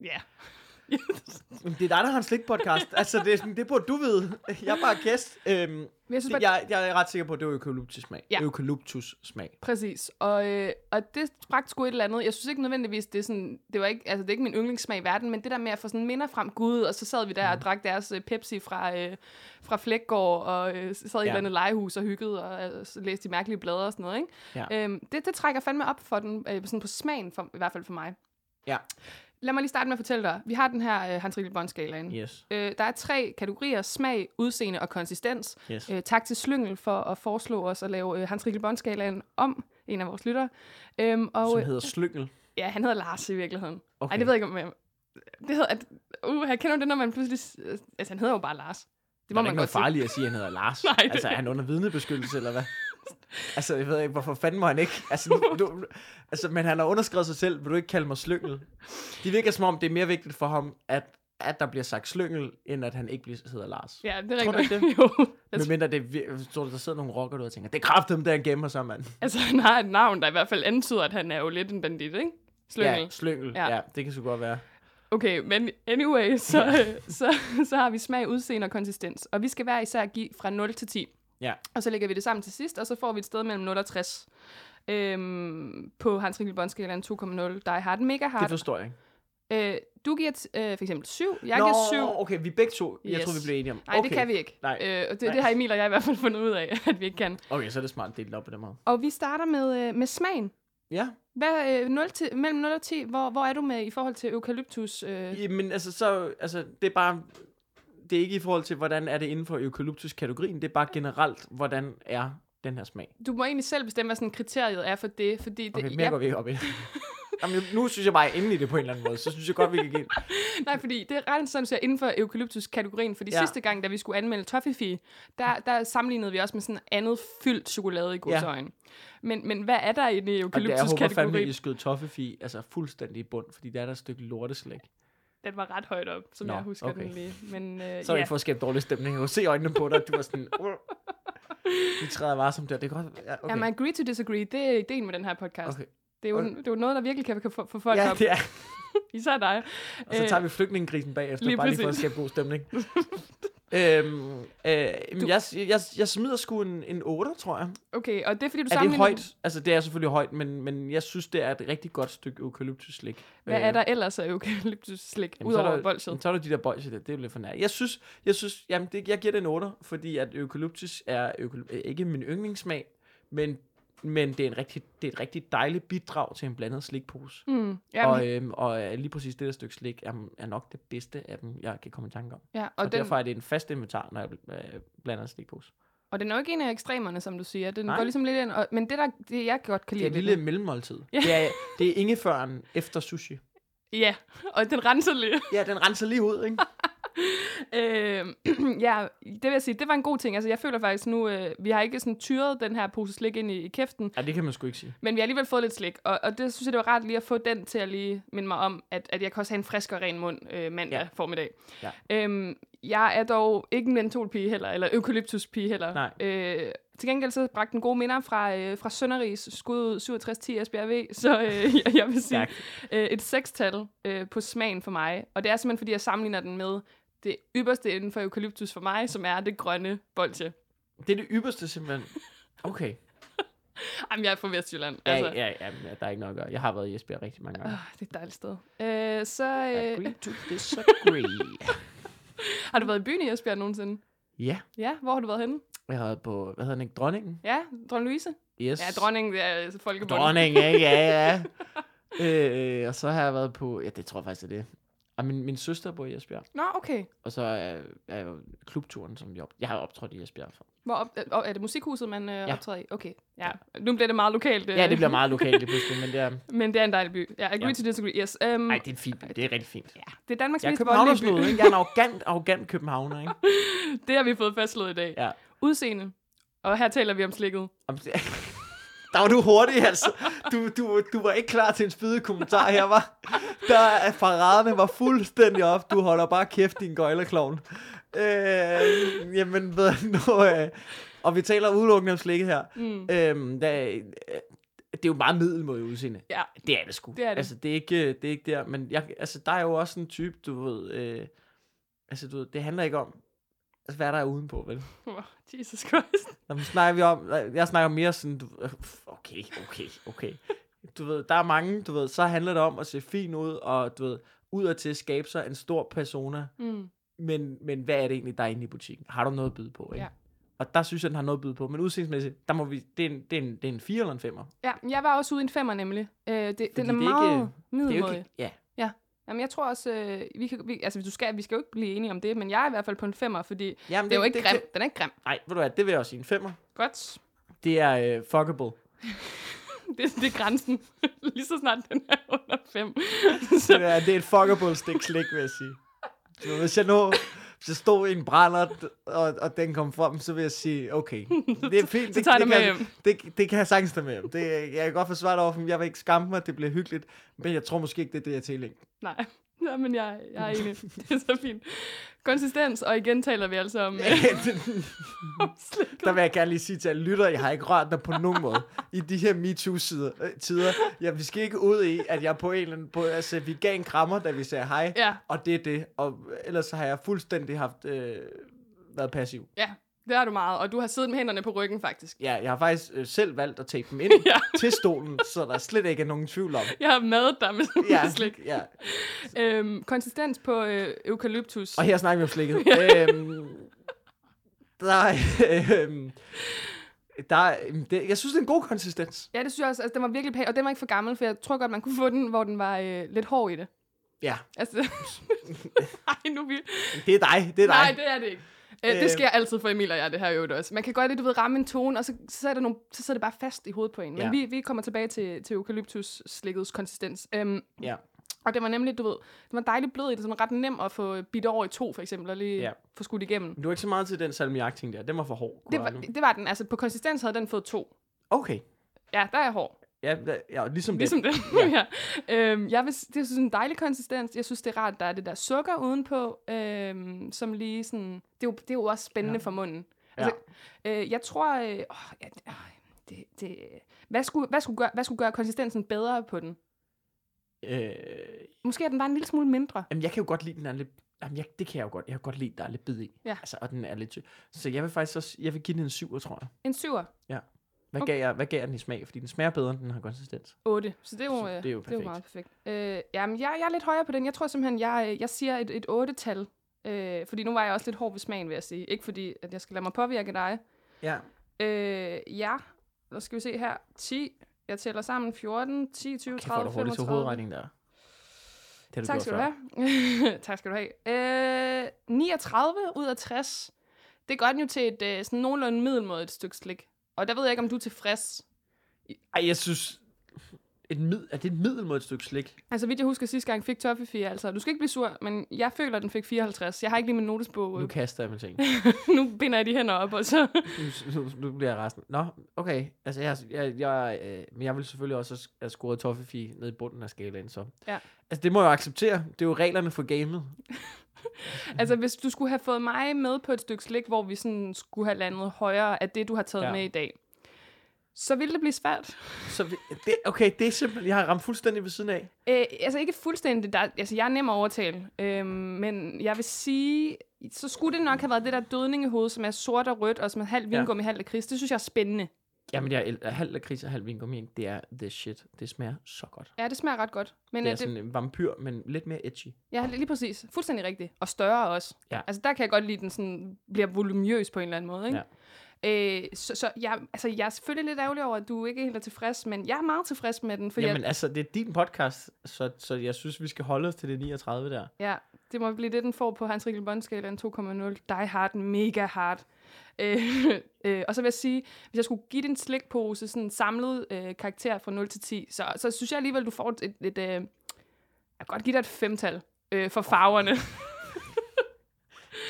Speaker 4: Ja.
Speaker 5: Jamen, Det er dig, der har en slik podcast. altså, det, er sådan, det burde du vide. Jeg er bare gæst. Øhm,
Speaker 4: Men jeg synes
Speaker 5: det,
Speaker 4: bare, ja.
Speaker 5: jeg, jeg er ret sikker på, at det var eukalyptus smag.
Speaker 4: Ja.
Speaker 5: Eukalyptus smag.
Speaker 4: præcis. Og, øh, og det bragte sgu et eller andet. Jeg synes ikke nødvendigvis, det er sådan, det var ikke, altså det er ikke min yndlingssmag i verden, men det der med at få sådan minder frem Gud, og så sad vi
Speaker 5: Mm.
Speaker 4: der og drak deres øh, Pepsi fra, øh, fra Flækgård, og øh, sad i et
Speaker 5: Ja.
Speaker 4: eller andet legehus og hyggede, og øh, så læste de mærkelige blade og sådan noget, ikke?
Speaker 5: Ja.
Speaker 4: Øhm, det, det trækker fandme op for den, øh, sådan på smagen, for, i hvert fald for mig.
Speaker 5: Ja.
Speaker 4: Lad mig lige starte med at fortælle dig. Vi har den her øh, Hans Rikkel Båndskalaen.
Speaker 5: Yes.
Speaker 4: Øh, der er tre kategorier. Smag, udseende og konsistens.
Speaker 5: Yes.
Speaker 4: Øh, tak til Slyngel for at foreslå os at lave øh, Hans Rikkel Båndskalaen om. En af vores lyttere. Øhm, og
Speaker 5: Som
Speaker 4: øh,
Speaker 5: hedder slyngel.
Speaker 4: ja, han hedder Lars i virkeligheden. Okay.
Speaker 5: Okay.
Speaker 4: Ej, det ved jeg ikke, om jeg... Det hedder... At, uh, jeg kender du det, når man pludselig... s- øh, Altså, han hedder jo bare Lars. Det må
Speaker 5: er
Speaker 4: man
Speaker 5: ikke
Speaker 4: godt
Speaker 5: noget
Speaker 4: sige.
Speaker 5: farligt at sige, at han hedder Lars.
Speaker 4: Nej, det-
Speaker 5: altså, er han under vidnebeskyttelse, eller hvad? Altså, jeg ved ikke, hvorfor fanden må han ikke? Altså, nu, du, altså, men han har underskrevet sig selv, vil du ikke kalde mig slyngel? Det virker som om, det er mere vigtigt for ham, at, at der bliver sagt slyngel, end at han ikke bliver, hedder Lars.
Speaker 4: Ja, det
Speaker 5: Tror
Speaker 4: er
Speaker 5: du
Speaker 4: rigtigt.
Speaker 5: ikke
Speaker 4: jo. Jeg
Speaker 5: Men mindre det, er vir- tror du, der sidder nogle rocker derude og tænker, det er kraftedeme, der han gemmer sig, mand.
Speaker 4: Altså, han har et navn, der i hvert fald antyder, at han er jo lidt en bandit, ikke? Slyngel.
Speaker 5: Ja, slyngel. Ja.
Speaker 4: Ja.
Speaker 5: ja, det kan sgu godt være.
Speaker 4: Okay, men anyway, så, øh, så, så har vi smag, udseende og konsistens. Og vi skal hver især give fra 0 til 10.
Speaker 5: Ja.
Speaker 4: Og så lægger vi det sammen til sidst, og så får vi et sted mellem 0 og 60. Øhm, på Hans Rikkel Båndskalaen 2,0 Die Hard Mega
Speaker 5: Det
Speaker 4: Hard.
Speaker 5: forstår jeg ikke.
Speaker 4: øh, du giver t- øh, for eksempel 7, jeg giver 7.
Speaker 5: okay, vi er begge to. Jeg
Speaker 4: Yes.
Speaker 5: tror, vi blev enige om.
Speaker 4: Nej,
Speaker 5: okay.
Speaker 4: det kan vi ikke.
Speaker 5: Nej.
Speaker 4: Øh, og det,
Speaker 5: Nej.
Speaker 4: det har Emil og jeg i hvert fald fundet ud af, at vi ikke kan.
Speaker 5: Okay, så er det smart delt op på den måde.
Speaker 4: Og vi starter med, øh, med smagen.
Speaker 5: Ja,
Speaker 4: Hvad, øh, 0 til, mellem 0 og 10, hvor, hvor er du med i forhold til eukalyptus? Øh,
Speaker 5: Jamen, altså, så, altså, det er bare... Det er ikke i forhold til, hvordan er det inden for eukalyptus-kategorien. Det er bare generelt, hvordan er den her smag.
Speaker 4: du må egentlig selv bestemme, hvad sådan kriteriet er for det, fordi det,
Speaker 5: Okay, mere går vi ikke op i. Jamen, nu synes jeg bare, jeg er inde i det på en eller anden måde. Så synes jeg godt, vi kan give
Speaker 4: Nej, fordi det er ret sådan, så inden for eukalyptus-kategorien, fordi
Speaker 5: Ja. Mm.
Speaker 4: ja. sidste gang, da vi skulle anmelde Toffifee, der, der sammenlignede vi også med sådan andet fyldt chokolade i godsøjne. Ja. Men, men hvad er der inde i
Speaker 5: Og det, jeg håber fandme, at
Speaker 4: eukalyptus-kategorien?
Speaker 5: I skød toffefi altså fuldstændig i bund, fordi der er der et stykke lorteslæg.
Speaker 4: Den var ret højt op, som
Speaker 5: Nå,
Speaker 4: Nå, jeg husker okay.
Speaker 5: okay.
Speaker 4: den lige. Men, øh,
Speaker 5: Så er det
Speaker 4: ja.
Speaker 5: ikke for at skabe dårlig stemning. Jeg kunne se øjnene på dig, at du var sådan... Uh, vi træder varsomt der. Det er godt. Ja, okay.
Speaker 4: Jamen, agree to disagree, det er ideen med den her podcast.
Speaker 5: okay.
Speaker 4: Det, er jo,
Speaker 5: Okay.
Speaker 4: det er jo noget, der virkelig kan, kan få, få folk
Speaker 5: Ja,
Speaker 4: op,
Speaker 5: det er.
Speaker 4: især dig.
Speaker 5: Og så tager vi flygtningegrisen bagefter, lige
Speaker 4: Øh, lige
Speaker 5: bare lige for at
Speaker 4: præcis.
Speaker 5: skabe god stemning. øhm, øh, jamen, jeg, jeg, jeg smider sgu en, en 8, tror jeg.
Speaker 4: Okay, og det er fordi, du
Speaker 5: Er det
Speaker 4: sammenligner...
Speaker 5: højt? Altså, det er selvfølgelig højt, men, men jeg synes, det er et rigtig godt stykke eukalyptus-slik.
Speaker 4: Hvad er der ellers af eukalyptus-slik,
Speaker 5: Øh. Jamen, så er
Speaker 4: udover
Speaker 5: der-
Speaker 4: bolsjet?
Speaker 5: Jamen, så er der de der bolsjer der, det er jo lidt for nær. Jeg synes, jeg synes, øh, jamen det, jeg giver den 8, fordi at eukalyptus er økoly- ikke min yndlingssmag, men Men det er, en rigtig, det er et rigtig dejligt bidrag til en blandet slikpose.
Speaker 4: Mm. Jamen,
Speaker 5: Og, øhm, og øh, lige præcis det der stykke slik er, er nok det bedste af dem, jeg kan komme i tanke om.
Speaker 4: ja,
Speaker 5: Og,
Speaker 4: og,
Speaker 5: og
Speaker 4: den,
Speaker 5: derfor er det en fast inventar, når jeg øh, blander en slikpose.
Speaker 4: og den er jo ikke en af ekstremerne, som du siger. Den
Speaker 5: Nej.
Speaker 4: går ligesom lidt ind, og, men det, der, det jeg godt kan
Speaker 5: Det er
Speaker 4: lide...
Speaker 5: et
Speaker 4: ved
Speaker 5: lille
Speaker 4: den-
Speaker 5: mellemmåltid.
Speaker 4: Ja.
Speaker 5: Det er, det er ingeføren efter sushi.
Speaker 4: Ja, og den renser lidt.
Speaker 5: Ja, den renser lige ud, ikke?
Speaker 4: Øh, ja, det vil jeg sige, det var en god ting. Altså, jeg føler faktisk nu, øh, vi har ikke sådan tyret den her pose slik ind i, i kæften,
Speaker 5: Ja, det kan man sgu ikke sige.
Speaker 4: men vi har alligevel fået lidt slik, og, og det synes jeg, det var rart lige at få den til at lige minde mig om, at, at jeg kan også have en frisk og ren mund øh, mandag
Speaker 5: Ja.
Speaker 4: ja. formiddag.
Speaker 5: Ja.
Speaker 4: Øhm, jeg er dog ikke en mentolpige heller, eller eukalyptuspige heller.
Speaker 5: Nej.
Speaker 4: Øh, til gengæld så bragte den gode minder fra, øh, fra Sønderrigs skud ud 6710 Esbjerg V, så øh, jeg, jeg vil sige,
Speaker 5: Tak.
Speaker 4: øh, et sekstal øh, på smagen for mig. Og det er simpelthen, fordi jeg sammenligner den med det ypperste inden for eukalyptus for mig, som er det grønne bolche.
Speaker 5: Det er det ypperste, simpelthen. Okay.
Speaker 4: Jamen, jeg er fra Vestjylland.
Speaker 5: Ja,
Speaker 4: altså.
Speaker 5: altså. ja, ja, men der er ikke noget at gøre. Jeg har været i Esbjerg rigtig mange gange.
Speaker 4: Åh, det er et dejligt sted. Øh, så øh,
Speaker 5: Agree to disagree.
Speaker 4: har du været i byen i Esbjerg nogensinde?
Speaker 5: ja,
Speaker 4: Ja, hvor har du været henne?
Speaker 5: jeg har været på, hvad hedder den ikke, dronningen?
Speaker 4: Ja, dronning Louise?
Speaker 5: Yes.
Speaker 4: Ja, dronning, det er folkebunden.
Speaker 5: Dronning, ikke? Ja, ja. øh, og så har jeg været på, ja, det tror jeg faktisk det er det. Og min, min søster bor i Esbjerg,
Speaker 4: Nå, okay.
Speaker 5: og så er, er jo klubturen, som vi op, jeg har optrådt i Esbjerg for.
Speaker 4: Hvor op, øh, er det musikhuset, man øh,
Speaker 5: Ja.
Speaker 4: ja. optræder i? Okay, ja. Nu bliver det meget lokalt. Øh,
Speaker 5: Ja, det bliver meget lokalt lige pludselig, men det er,
Speaker 4: Men det er en dejlig by. Ja, agree
Speaker 5: Ja.
Speaker 4: ja. to disagree. Yes. Um,
Speaker 5: ej, det er fint, det er rigtig fint.
Speaker 4: Det er Danmarks
Speaker 5: Jeg er
Speaker 4: mest voldelige by.
Speaker 5: københavnersnodet, ikke? Jeg er en arrogant, arrogant københavner, ikke?
Speaker 4: Det har vi fået fastslået i dag.
Speaker 5: Ja.
Speaker 4: Udseende. Og her taler vi om slikket.
Speaker 5: Om det- Der var du hurtig, altså. Du, du, du var ikke klar til en spydig kommentar her, var. Der er paraderne var fuldstændig op. Du holder bare kæft, din gøjlerklovn. Øh, jamen, ved du, nu, øh, og vi taler udelukkende om slikket her. Mm. Øh, der, øh, det er jo meget middelmåde udseende.
Speaker 4: Ja.
Speaker 5: Det er det sgu.
Speaker 4: Det er det.
Speaker 5: Altså, det er ikke, øh, det er ikke der, men jeg, altså, der er jo også en type, du ved, øh, altså, du ved, det handler ikke om, altså, hvad der er udenpå, vel?
Speaker 4: Oh, Jesus Christ.
Speaker 5: Nå, men snakker vi om, jeg snakker mere sådan, du, okay, okay, okay. Du ved, der er mange, du ved, så handler det om at se fin ud, og du ved, udadtil skabe sig en stor persona.
Speaker 4: Mm.
Speaker 5: Men, men hvad er det egentlig, der er inde i butikken? Har du noget at byde på, ikke?
Speaker 4: Ja.
Speaker 5: Og der synes jeg, den har noget at byde på. Men udseendsmæssigt, der må vi, det er en, det er en, det er en 4 eller en 5'er.
Speaker 4: Ja, jeg var også ude i en femmer nemlig. Øh, det, den er,
Speaker 5: det er
Speaker 4: meget
Speaker 5: ikke- Det er jo
Speaker 4: middelmådig.
Speaker 5: ikke, ja.
Speaker 4: Jamen, jeg tror også, øh, vi, kan, vi, altså, du skal, vi skal jo ikke blive enige om det, men jeg er i hvert fald på en femmer, fordi det,
Speaker 5: Jamen,
Speaker 4: det er jo ikke
Speaker 5: det,
Speaker 4: grim.
Speaker 5: Det,
Speaker 4: Den er ikke grim.
Speaker 5: nej, ved du hvad, det vil jeg også sige, en 5'er.
Speaker 4: Godt.
Speaker 5: Det er øh, fuckable.
Speaker 4: Det, det er grænsen. Lige så snart den er under fem.
Speaker 5: Det
Speaker 4: så,
Speaker 5: er, det er et fuckable stik slik, vil jeg sige. Du ved, Hvis jeg nu hvis jeg stod i en brænder, og, og den kom frem, så vil jeg sige, okay, det er fint.
Speaker 4: tager jeg
Speaker 5: det,
Speaker 4: det med
Speaker 5: kan,
Speaker 4: hjem.
Speaker 5: Det, det kan jeg sagtens tage med hjem. Det, jeg kan godt forsvare dig over, for jeg vil ikke skamme mig, det bliver hyggeligt, men jeg tror måske ikke, det er det, jeg tilhænger.
Speaker 4: nej. Ja, men jeg, jeg er enig. Det er så fint. Konsistens, og igen taler vi altså om, øh, om slik.
Speaker 5: Der vil jeg gerne lige sige til alle lyttere, jeg har ikke rørt dig på nogen måde i de her MeToo-tider. Ja, vi skal ikke ud i, at jeg på en eller anden... På, altså, vi gav en krammer, da vi sagde hej,
Speaker 4: Ja.
Speaker 5: og det er det. Og ellers så har jeg fuldstændig haft... Øh, været passiv.
Speaker 4: Ja, det er du meget. Og du har siddet med hænderne på ryggen, faktisk.
Speaker 5: Ja, jeg har faktisk øh, selv valgt at tape dem ind
Speaker 4: Ja.
Speaker 5: til stolen, så der slet ikke er nogen tvivl om.
Speaker 4: Jeg har madet dig med, ja. med slik.
Speaker 5: ja.
Speaker 4: Øhm, konsistens på øh, eukalyptus.
Speaker 5: Og her snakker vi om slikket. øhm, der, øhm, der, øhm, det, jeg synes, det er en god konsistens.
Speaker 4: Ja, det synes jeg også. Altså, den var virkelig pæn, og den var ikke for gammel, for jeg tror godt, man kunne få den, hvor den var øh, lidt hård i det.
Speaker 5: Ja,
Speaker 4: Altså, nej, nu er vi...
Speaker 5: det er dig, det er
Speaker 4: Nej,
Speaker 5: dig.
Speaker 4: det er det ikke. Øh,
Speaker 5: Øh.
Speaker 4: det sker altid for Emil og jeg, det her i øvrigt også. Man kan godt lidt, du ved, ramme en tone, og så, så, sidder, der nogle, så sidder det bare fast i hovedet på en. Men
Speaker 5: Ja.
Speaker 4: vi, vi kommer tilbage til, til eukalyptus-slikkets konsistens. Øhm,
Speaker 5: Ja.
Speaker 4: og det var nemlig, du ved, det var dejligt blød i det, sådan ret nem at få bidt over i to, for eksempel, og lige
Speaker 5: Ja.
Speaker 4: ja. få skudt igennem.
Speaker 5: Men Du er ikke så meget til den salmiak-ting der. Den var for hård.
Speaker 4: Det
Speaker 5: kunne jeg
Speaker 4: var,
Speaker 5: regne ud.
Speaker 4: det var den. Altså, på konsistens havde den fået to.
Speaker 5: Okay.
Speaker 4: Ja, der er jeg hård.
Speaker 5: Ja, da- ja ligesom,
Speaker 4: Ligesom
Speaker 5: den.
Speaker 4: den. ja. øhm, jeg vil, s- det jeg synes jeg er en dejlig konsistens. Jeg synes, det er rart, der er det der sukker udenpå, øhm, som lige sådan... Det er jo, det er jo også spændende ja. for munden. Altså, ja. øh, jeg tror... Øh, åh, ja, øh, det, det, hvad, skulle, hvad, skulle gøre, hvad skulle gøre konsistensen bedre på den?
Speaker 5: Øh,
Speaker 4: Måske er den bare en lille smule mindre.
Speaker 5: Jamen, jeg kan jo godt lide, den er lidt... Jamen, jeg, det kan jeg jo godt. Jeg kan godt lide, der er lidt bid i.
Speaker 4: Ja.
Speaker 5: Altså, og den er lidt sød. Så jeg vil faktisk også... Jeg vil give den en 7, tror jeg.
Speaker 4: En syver.
Speaker 5: Hvad,
Speaker 4: Okay.
Speaker 5: gav jeg, hvad gav jeg den i smag? Fordi den smager bedre, end den har konsistens.
Speaker 4: 8. Så det er jo,
Speaker 5: Så
Speaker 4: øh,
Speaker 5: det er jo
Speaker 4: det er jo meget perfekt. Øh, jamen, jeg, jeg er lidt højere på den. Jeg tror simpelthen, jeg, øh, jeg siger et, et 8-tal. Øh, fordi nu var jeg også lidt hård ved smagen, vil jeg sige. Ikke fordi, at jeg skal lade mig påvirke af dig.
Speaker 5: Ja.
Speaker 4: Øh, ja, Nu skal vi se her. 10. Jeg tæller sammen 14, 10, 20,
Speaker 5: Kan få
Speaker 4: 30,
Speaker 5: dig hurtigt til
Speaker 4: 35.
Speaker 5: hovedregning der. Det har
Speaker 4: Tak
Speaker 5: gjort
Speaker 4: skal du
Speaker 5: før.
Speaker 4: have. tak skal du have. Øh, 39 ud af 60. Det gør den jo til et øh, sådan nogenlunde middelmådigt stykke slik. Og der ved jeg ikke, om du er tilfreds.
Speaker 5: Ej, jeg synes... Et mid, er det et middel mod et stykke slik?
Speaker 4: Altså, vidt jeg husker sidste gang, fik Toffifee altså. Du skal ikke blive sur, men jeg føler, den fik 54. Jeg har ikke lige min notesbog.
Speaker 5: Nu
Speaker 4: Nu,
Speaker 5: kaster jeg mig ting.
Speaker 4: nu binder jeg de hænder op, og så...
Speaker 5: Nu, nu, nu bliver jeg resten. Nå, okay. Altså, jeg, jeg, jeg, øh, men jeg vil selvfølgelig også have sk- have scoret Toffefi ned i bunden af skalaen, så.
Speaker 4: Ja.
Speaker 5: Altså, det må jeg jo acceptere. Det er jo reglerne for gamet.
Speaker 4: Altså, hvis du skulle have fået mig med på et stykke slik, hvor vi sådan skulle have landet højere af det, du har taget
Speaker 5: Ja.
Speaker 4: ja. med i dag, så ville det blive svært.
Speaker 5: Så vi, det, okay, det er simpelthen... Jeg har ramt fuldstændig ved siden af.
Speaker 4: Øh, altså ikke fuldstændig. Der, altså, jeg er nem at overtale. Øh, men jeg vil sige, så skulle det nok have været det der dødning i hovedet, som er sort og rødt, og som er halv vingummi, ja. halv lakrids. Det synes jeg er spændende.
Speaker 5: Jamen, jeg er halv lakrids og halv vingummi. Det er the shit. Det smager så godt.
Speaker 4: Ja, det smager ret godt. Men
Speaker 5: Det
Speaker 4: øh,
Speaker 5: er
Speaker 4: det,
Speaker 5: sådan en vampyr, men lidt mere edgy.
Speaker 4: ja, lige præcis. Fuldstændig rigtigt. Og større også.
Speaker 5: Ja.
Speaker 4: Altså, der kan jeg godt lide, at den sådan bliver volumøs på en eller anden måde. Ikke?
Speaker 5: Ja.
Speaker 4: Øh, så så jeg, altså, jeg er selvfølgelig lidt ærgerlig over, at du ikke helt er tilfreds, men jeg er meget tilfreds med den. For
Speaker 5: Jamen,
Speaker 4: jeg,
Speaker 5: altså, det er din podcast, så, så jeg synes, vi skal holde os til det 39 der.
Speaker 4: ja, det må blive det, den får på Hans Rikkel Bondskala, en 2,0. Die hard, mega hard. Øh, øh, og så vil jeg sige, hvis jeg skulle give din slikpose sådan en samlet øh, karakter fra 0 til 10, så, så synes jeg alligevel, du får et... et, et øh, jeg kan godt give dig et femtal øh, for farverne.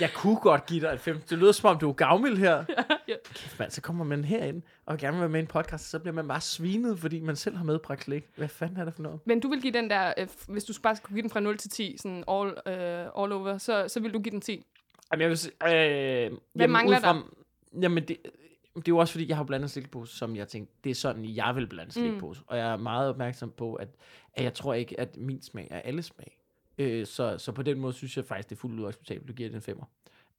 Speaker 5: Jeg kunne godt give dig et 5. Det lyder som om, du er gavmild her.
Speaker 4: ja.
Speaker 5: Kæft, mand, så kommer man herind og vil gerne vil være med i en podcast, og så bliver man bare svinet, fordi man selv har medbragt slik. Hvad fanden er det for noget?
Speaker 4: Men du vil give den der, øh, f- hvis du bare skulle give den fra 0 til 10, sådan all, øh, all over, så, så vil du give den 10.
Speaker 5: Jamen, jeg vil sige, øh, Hvad
Speaker 4: mangler
Speaker 5: Jamen, det, det er jo også fordi, jeg har blandet slikpose, som jeg tænkte, det er sådan, jeg vil blande slikpose. Mm. Og jeg er meget opmærksom på, at, at jeg tror ikke, at min smag er alles smag. Øh, så, så på den måde synes jeg faktisk, det er fuldt ud acceptabelt. Du giver den femmer.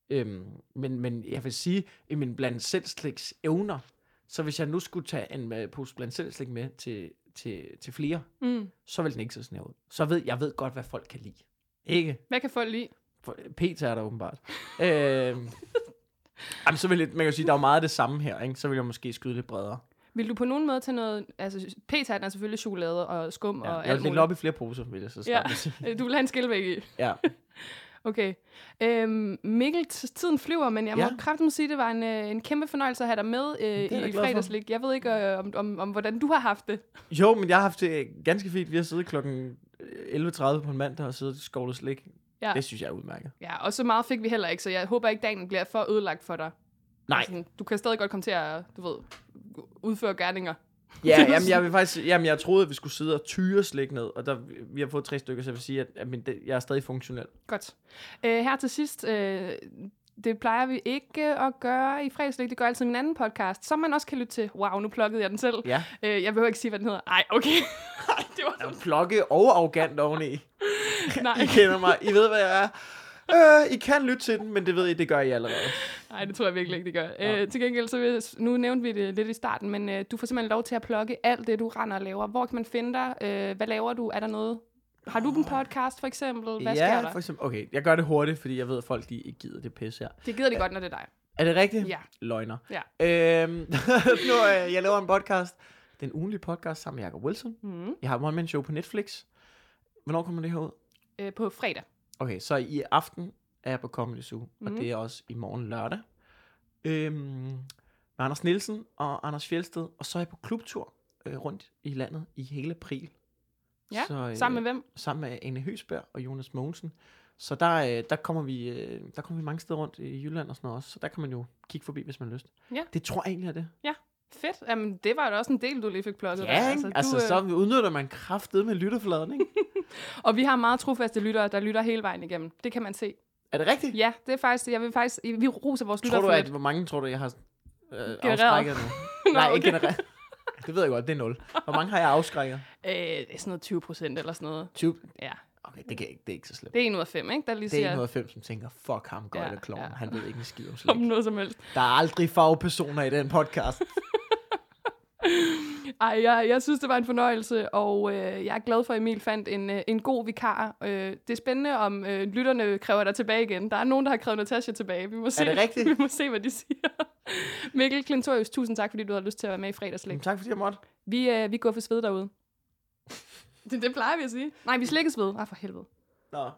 Speaker 5: Øhm, men, men jeg vil sige, i min blandt selv sliks evner, så hvis jeg nu skulle tage en øh, pose blandt selv slik med til, til, til flere,
Speaker 4: Mm.
Speaker 5: så vil den ikke se sådan her ud. Så ved jeg ved godt, hvad folk kan lide. Ikke?
Speaker 4: Hvad kan folk lide?
Speaker 5: For- Peter er der åbenbart. øh, jamen, så vil jeg, man kan jo sige, der er jo meget af det samme her, ikke? Så vil jeg måske skyde lidt bredere.
Speaker 4: Vil du på nogen måde tage noget, altså p-taten er selvfølgelig chokolade og skum
Speaker 5: Ja,
Speaker 4: og
Speaker 5: jeg vil
Speaker 4: alt
Speaker 5: dele
Speaker 4: muligt.
Speaker 5: det op i flere poser, vil jeg så starte
Speaker 4: Ja.
Speaker 5: med at sige.
Speaker 4: Øh, Du vil have en skilvæg i.
Speaker 5: Ja.
Speaker 4: Okay. Øhm, Mikkel, t- tiden flyver, men jeg må
Speaker 5: Ja.
Speaker 4: ja. kraftigt sige, at det var en, øh, en kæmpe fornøjelse at have dig med
Speaker 5: jeg da
Speaker 4: øh, i
Speaker 5: glad for.
Speaker 4: fredagslik. Jeg ved ikke, øh, om, om, om, hvordan du har haft det.
Speaker 5: Jo, men jeg har haft det ganske fint. Vi har siddet klokken 11.30 på en mandag og siddet og skovlet slik.
Speaker 4: Ja.
Speaker 5: Det synes jeg er udmærket.
Speaker 4: Ja, og så meget fik vi heller ikke, så jeg håber ikke, dagen bliver for ødelagt for dig.
Speaker 5: Nej.
Speaker 4: Altså, du kan stadig godt komme til at, du ved, udføre gerninger.
Speaker 5: Ja, jamen, jeg vil faktisk, jamen, jeg troede, at vi skulle sidde og tyre slik ned, og der, vi har fået tre stykker, så jeg vil sige, at, at min, det, jeg er stadig funktionel.
Speaker 4: Godt. Øh, her til sidst, øh, det plejer vi ikke at gøre i fredagslæg. Det gør altid min anden podcast, som man også kan lytte til. Wow, nu plukkede jeg den selv.
Speaker 5: Ja.
Speaker 4: Øh, jeg behøver ikke sige, hvad den hedder. Ej, okay. Ej, det var sådan.
Speaker 5: Plukke og arrogant oveni.
Speaker 4: Nej,
Speaker 5: I kender mig. I ved, hvad jeg er. Øh, I kan lytte til den, men det ved I, det gør I allerede.
Speaker 4: nej, det tror jeg virkelig ikke, det gør. Øh, til gengæld, så vil, jeg s- nu nævnte vi det lidt i starten, men øh, du får simpelthen lov til at plukke alt det, du render og laver. Hvor kan man finde dig? Øh, hvad laver du? Er der noget? Har du en podcast, for eksempel? Hvad sker der?
Speaker 5: for eksempel. Okay, jeg gør det hurtigt, fordi jeg ved, at folk de ikke gider det pisse her.
Speaker 4: Det gider det godt, når det er dig.
Speaker 5: Er det rigtigt?
Speaker 4: Ja.
Speaker 5: Løgner.
Speaker 4: Ja.
Speaker 5: Øhm, nu, øh, jeg laver en podcast. Den ugenlige podcast sammen med Jacob Wilson.
Speaker 4: Mm.
Speaker 5: Jeg har et one-man show på Netflix. Hvornår kommer det her ud?
Speaker 4: Øh, på fredag.
Speaker 5: Okay, så i aften er jeg på Comedy Zoo, mm. og
Speaker 4: Mhm.
Speaker 5: det er også i morgen lørdag. Øhm, med Anders Nielsen og Anders Fjelsted, og så er jeg på klubtur øh, rundt i landet i hele april.
Speaker 4: Ja,
Speaker 5: så, øh,
Speaker 4: Sammen med hvem?
Speaker 5: sammen med Anne Høsberg og Jonas Mogensen. Så der, øh, der, kommer vi, øh, der kommer vi mange steder rundt i Jylland og sådan noget også. Så der kan man jo kigge forbi, hvis man har lyst.
Speaker 4: Ja.
Speaker 5: Det tror jeg egentlig er det.
Speaker 4: Fedt. Jamen, det var jo da også en del, du lige fik plukket. der.
Speaker 5: Ja, ikke? Altså,
Speaker 4: du, øh,
Speaker 5: så udnytter man kraftet med lytterfladen, ikke?
Speaker 4: Og vi har meget trofaste lyttere, der lytter hele vejen igennem. Det kan man se.
Speaker 5: er det rigtigt?
Speaker 4: Ja, det er faktisk, jeg vil faktisk, vi roser vores
Speaker 5: Tror
Speaker 4: lyttere
Speaker 5: du,
Speaker 4: for
Speaker 5: at,
Speaker 4: lidt.
Speaker 5: hvor mange tror du, jeg har øh,
Speaker 4: Genereret.
Speaker 5: afskrækket nu? Nej, ikke
Speaker 4: okay.
Speaker 5: generelt. Det ved jeg godt, det er nul. Hvor mange har jeg afskrækket?
Speaker 4: Øh, det er sådan noget 20 procent eller sådan noget.
Speaker 5: 20?
Speaker 4: Ja,
Speaker 5: Okay, det, kan jeg ikke, det er ikke så slemt.
Speaker 4: det er en ud af fem, ikke? Der lige
Speaker 5: Det er
Speaker 4: siger
Speaker 5: en 190, som tænker, fuck ham, godt
Speaker 4: Ja,
Speaker 5: ja, klovn.
Speaker 4: ja.
Speaker 5: Han ved ikke en skid om
Speaker 4: om
Speaker 5: slik.
Speaker 4: noget som helst.
Speaker 5: Der er aldrig fagpersoner i den podcast.
Speaker 4: Ej, jeg, jeg synes, det var en fornøjelse, og øh, jeg er glad for, at Emil fandt en, øh, en god vikar. Øh, det er spændende, om øh, lytterne kræver dig tilbage igen. Der er nogen, der har krævet Natasha tilbage. Vi må se,
Speaker 5: det rigtigt?
Speaker 4: Vi må se, hvad de siger. Mikkel Klintorius, tusind tak, fordi du har lyst til at være med i fredagslæg.
Speaker 5: Jamen, tak fordi jeg måtte.
Speaker 4: Vi, øh, vi går for sved derude. Det, det plejer vi at sige. Nej, vi slikkes ved. Ej, for helvede.
Speaker 5: Nå.